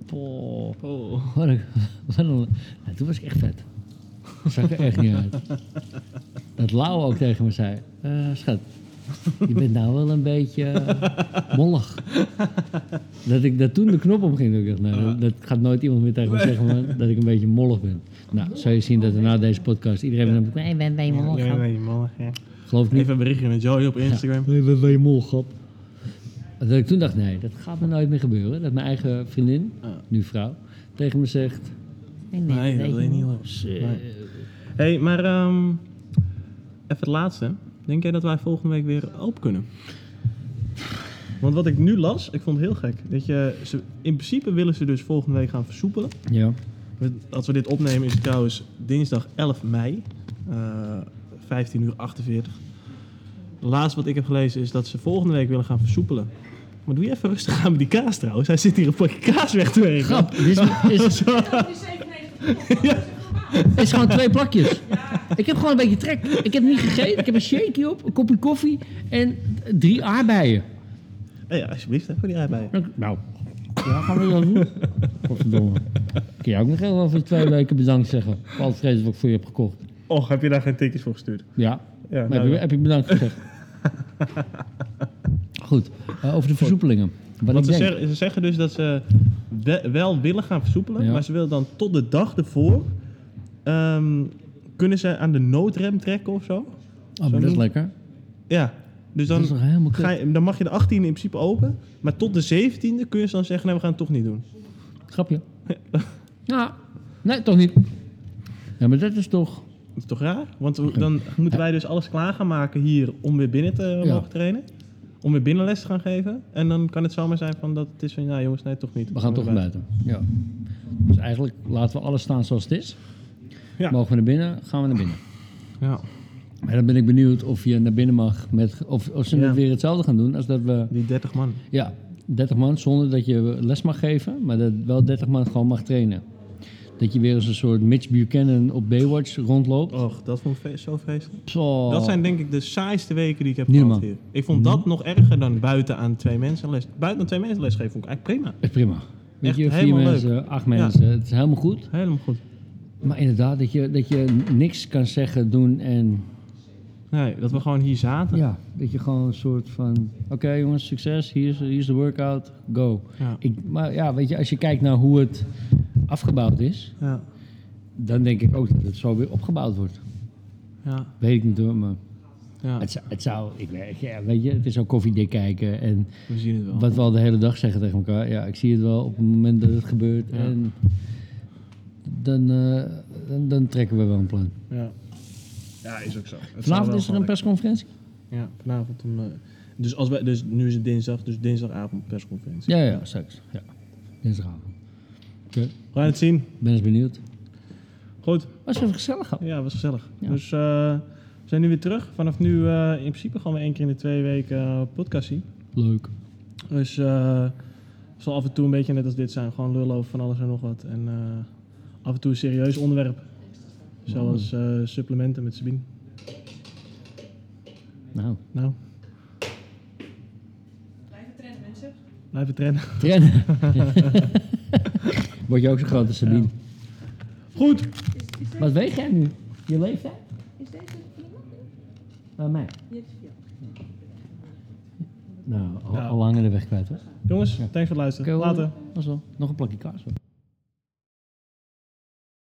S2: Poh.
S3: Oh.
S2: Wat een, wat een- nou, toen was ik echt vet. Zag er echt niet uit. Dat Lau ook tegen me zei. eh, schat, je bent nou wel een beetje eh, mollig. Dat ik dat toen de knop omging. Dat ik dacht, nou, dat, dat gaat nooit iemand meer tegen me zeggen maar, dat ik een beetje mollig ben. Nou, zou je zien dat er na deze podcast iedereen... dan- Nee, ben, ben je mollig,
S3: Ja,
S2: grap?
S3: nee, man. Ja.
S2: Geloof ik niet.
S3: Even een berichtje met Joey op Instagram.
S2: Nee, ben, ben je mollig, grap? Dat ik toen dacht, nee, dat gaat me nooit meer gebeuren. Dat mijn eigen vriendin,
S3: Ja.
S2: nu vrouw, tegen me zegt...
S3: Nee, Eh. dat wil je niet horen. Nee. hey, maar ehm, even het laatste. Denk jij dat wij volgende week weer open kunnen? Want wat ik nu las, ik vond het heel gek. Dat je, ze, in principe willen ze dus volgende week gaan versoepelen.
S2: Ja.
S3: We- Als we dit opnemen is het trouwens dinsdag 11 mei, eh 15 uur 48. Laatst wat ik heb gelezen is dat ze volgende week willen gaan versoepelen. Maar doe je even rustig aan met die kaas trouwens. Hij zit hier een pakje kaas weg te werken.
S2: Grap, dit is, is,
S4: Dat is 97 kilo. Dat is echt verbaasd.
S2: is gewoon twee plakjes.
S4: Ja.
S2: Ik heb gewoon een beetje trek. Ik heb niet gegeten, ik heb een shakeje op, een kopje koffie en drie aardbeien.
S3: Hey, Eh, ja, alsjeblieft, hè, voor die aardbeien.
S2: Nou, ja, gaan we dat doen. Godverdomme. Kun je ook nog heel even twee weken bedankt zeggen. Voor al het vreselijk wat ik voor je heb gekocht.
S3: Och, heb je daar geen tickets voor gestuurd?
S2: Ja,
S3: Ja,
S2: maar
S3: nou
S2: heb, je,
S3: ja.
S2: heb je bedankt gezegd. Goed, eh, over de versoepelingen. Wat ik
S3: Want ze,
S2: denk.
S3: zeggen, ze zeggen dus dat ze we- wel willen gaan versoepelen,
S2: Ja.
S3: maar ze willen dan tot de dag ervoor. ehm, kunnen ze aan de noodrem trekken of zo?
S2: oh, maar dat is
S3: doen.
S2: lekker.
S3: Ja. Dus
S2: Dat
S3: dan,
S2: is toch helemaal kut.
S3: ga je, dan mag je de 18e in principe open, maar tot de 17e kun je ze dan zeggen: nee, we gaan het toch niet doen.
S2: Grapje. Ja. Nee, toch niet. Ja, maar dat is toch...
S3: Dat is toch raar? Want we- dan moeten wij dus alles klaar gaan maken hier om weer binnen te
S2: Ja.
S3: mogen trainen. Om weer binnenles te gaan geven. En dan kan het zomaar zijn van dat het is van, ja jongens, nee, toch niet.
S2: We gaan toch naar buiten. Ja. Dus eigenlijk laten we alles staan zoals het is.
S3: Ja.
S2: Mogen we naar binnen, gaan we naar binnen.
S3: Ja.
S2: Maar dan ben ik benieuwd of je naar binnen mag. Met, of, of ze
S3: Ja.
S2: het weer hetzelfde gaan doen als dat we...
S3: Die 30 man.
S2: Ja, 30 man zonder dat je les mag geven. Maar dat wel 30 man gewoon mag trainen. Dat je weer eens een soort Mitch Buchanan op Baywatch rondloopt.
S3: Och, dat vond ik vre- zo vreselijk.
S2: Zo.
S3: Oh, Dat zijn denk ik de saaiste weken die ik heb
S2: Niet
S3: gehad
S2: normaal.
S3: hier. Ik vond dat
S2: Mhm.
S3: nog erger dan buiten aan twee mensen les. Buiten aan twee mensen lesgeven vond ik eigenlijk prima.
S2: Is prima. Weet
S3: Echt
S2: je, vier
S3: helemaal leuk.
S2: mensen, acht mensen. Het is helemaal goed.
S3: Helemaal goed.
S2: Maar inderdaad, dat je, dat je niks kan zeggen, doen en...
S3: Nee, dat we gewoon hier zaten.
S2: Ja, dat je gewoon een soort van... Oké jongens, succes. Hier is, hier is de workout. Go.
S3: Ja.
S2: Ik, maar ja, weet je, als je kijkt naar hoe het afgebouwd is...
S3: Ja.
S2: dan denk ik ook dat het zo weer opgebouwd wordt.
S3: Ja,
S2: Weet ik niet hoor, maar
S3: ja.
S2: het, zou- het zou, ik weet, ja, weet je, het is ook koffiedik kijken en
S3: we zien het wel.
S2: wat we al de hele dag zeggen tegen elkaar. Ja, ik zie het wel op het moment dat het gebeurt
S3: Ja.
S2: en dan, eh, dan, dan trekken we wel een plan.
S3: Ja. ja, is ook zo. Het zou
S2: Vanavond
S3: wel
S2: is er
S3: gewoon
S2: een persconferentie?
S3: lekker- Ja, vanavond. Om, eh, dus, als wij, dus nu is het dinsdag, dus dinsdagavond persconferentie.
S2: Ja, ja, straks. Ja. Dinsdagavond. Oké,
S3: We gaan het zien.
S2: ben eens benieuwd.
S3: Goed.
S2: Was even gezellig al.
S3: Ja, was gezellig.
S2: Ja.
S3: Dus eh, we zijn nu weer terug. Vanaf nu eh, in principe gaan we één keer in de twee weken eh, podcast zien.
S2: Leuk.
S3: Dus eh, het zal af en toe een beetje net als dit zijn. Gewoon lullen over van alles en nog wat. En eh, af en toe een serieus onderwerp. Zoals eh, supplementen met Sabine.
S2: Nou,
S3: Nou,
S4: Blijven trainen, mensen.
S3: blijven trainen.
S2: trainen. Word je ook zo groot als Sabine.
S3: Goed.
S4: Is, is, deze,
S2: Wat weeg jij nu? Je leeftijd?
S4: is deze prima?
S2: Bij mij.
S4: Je hebt vier.
S2: Nou, al,
S3: Ja.
S2: Nou, al langer de weg kwijt hoor.
S3: Jongens, thanks voor het luisteren.
S2: Oké, hoor.
S3: Later.
S2: Dat is wel. Nog een plakje kaas hoor.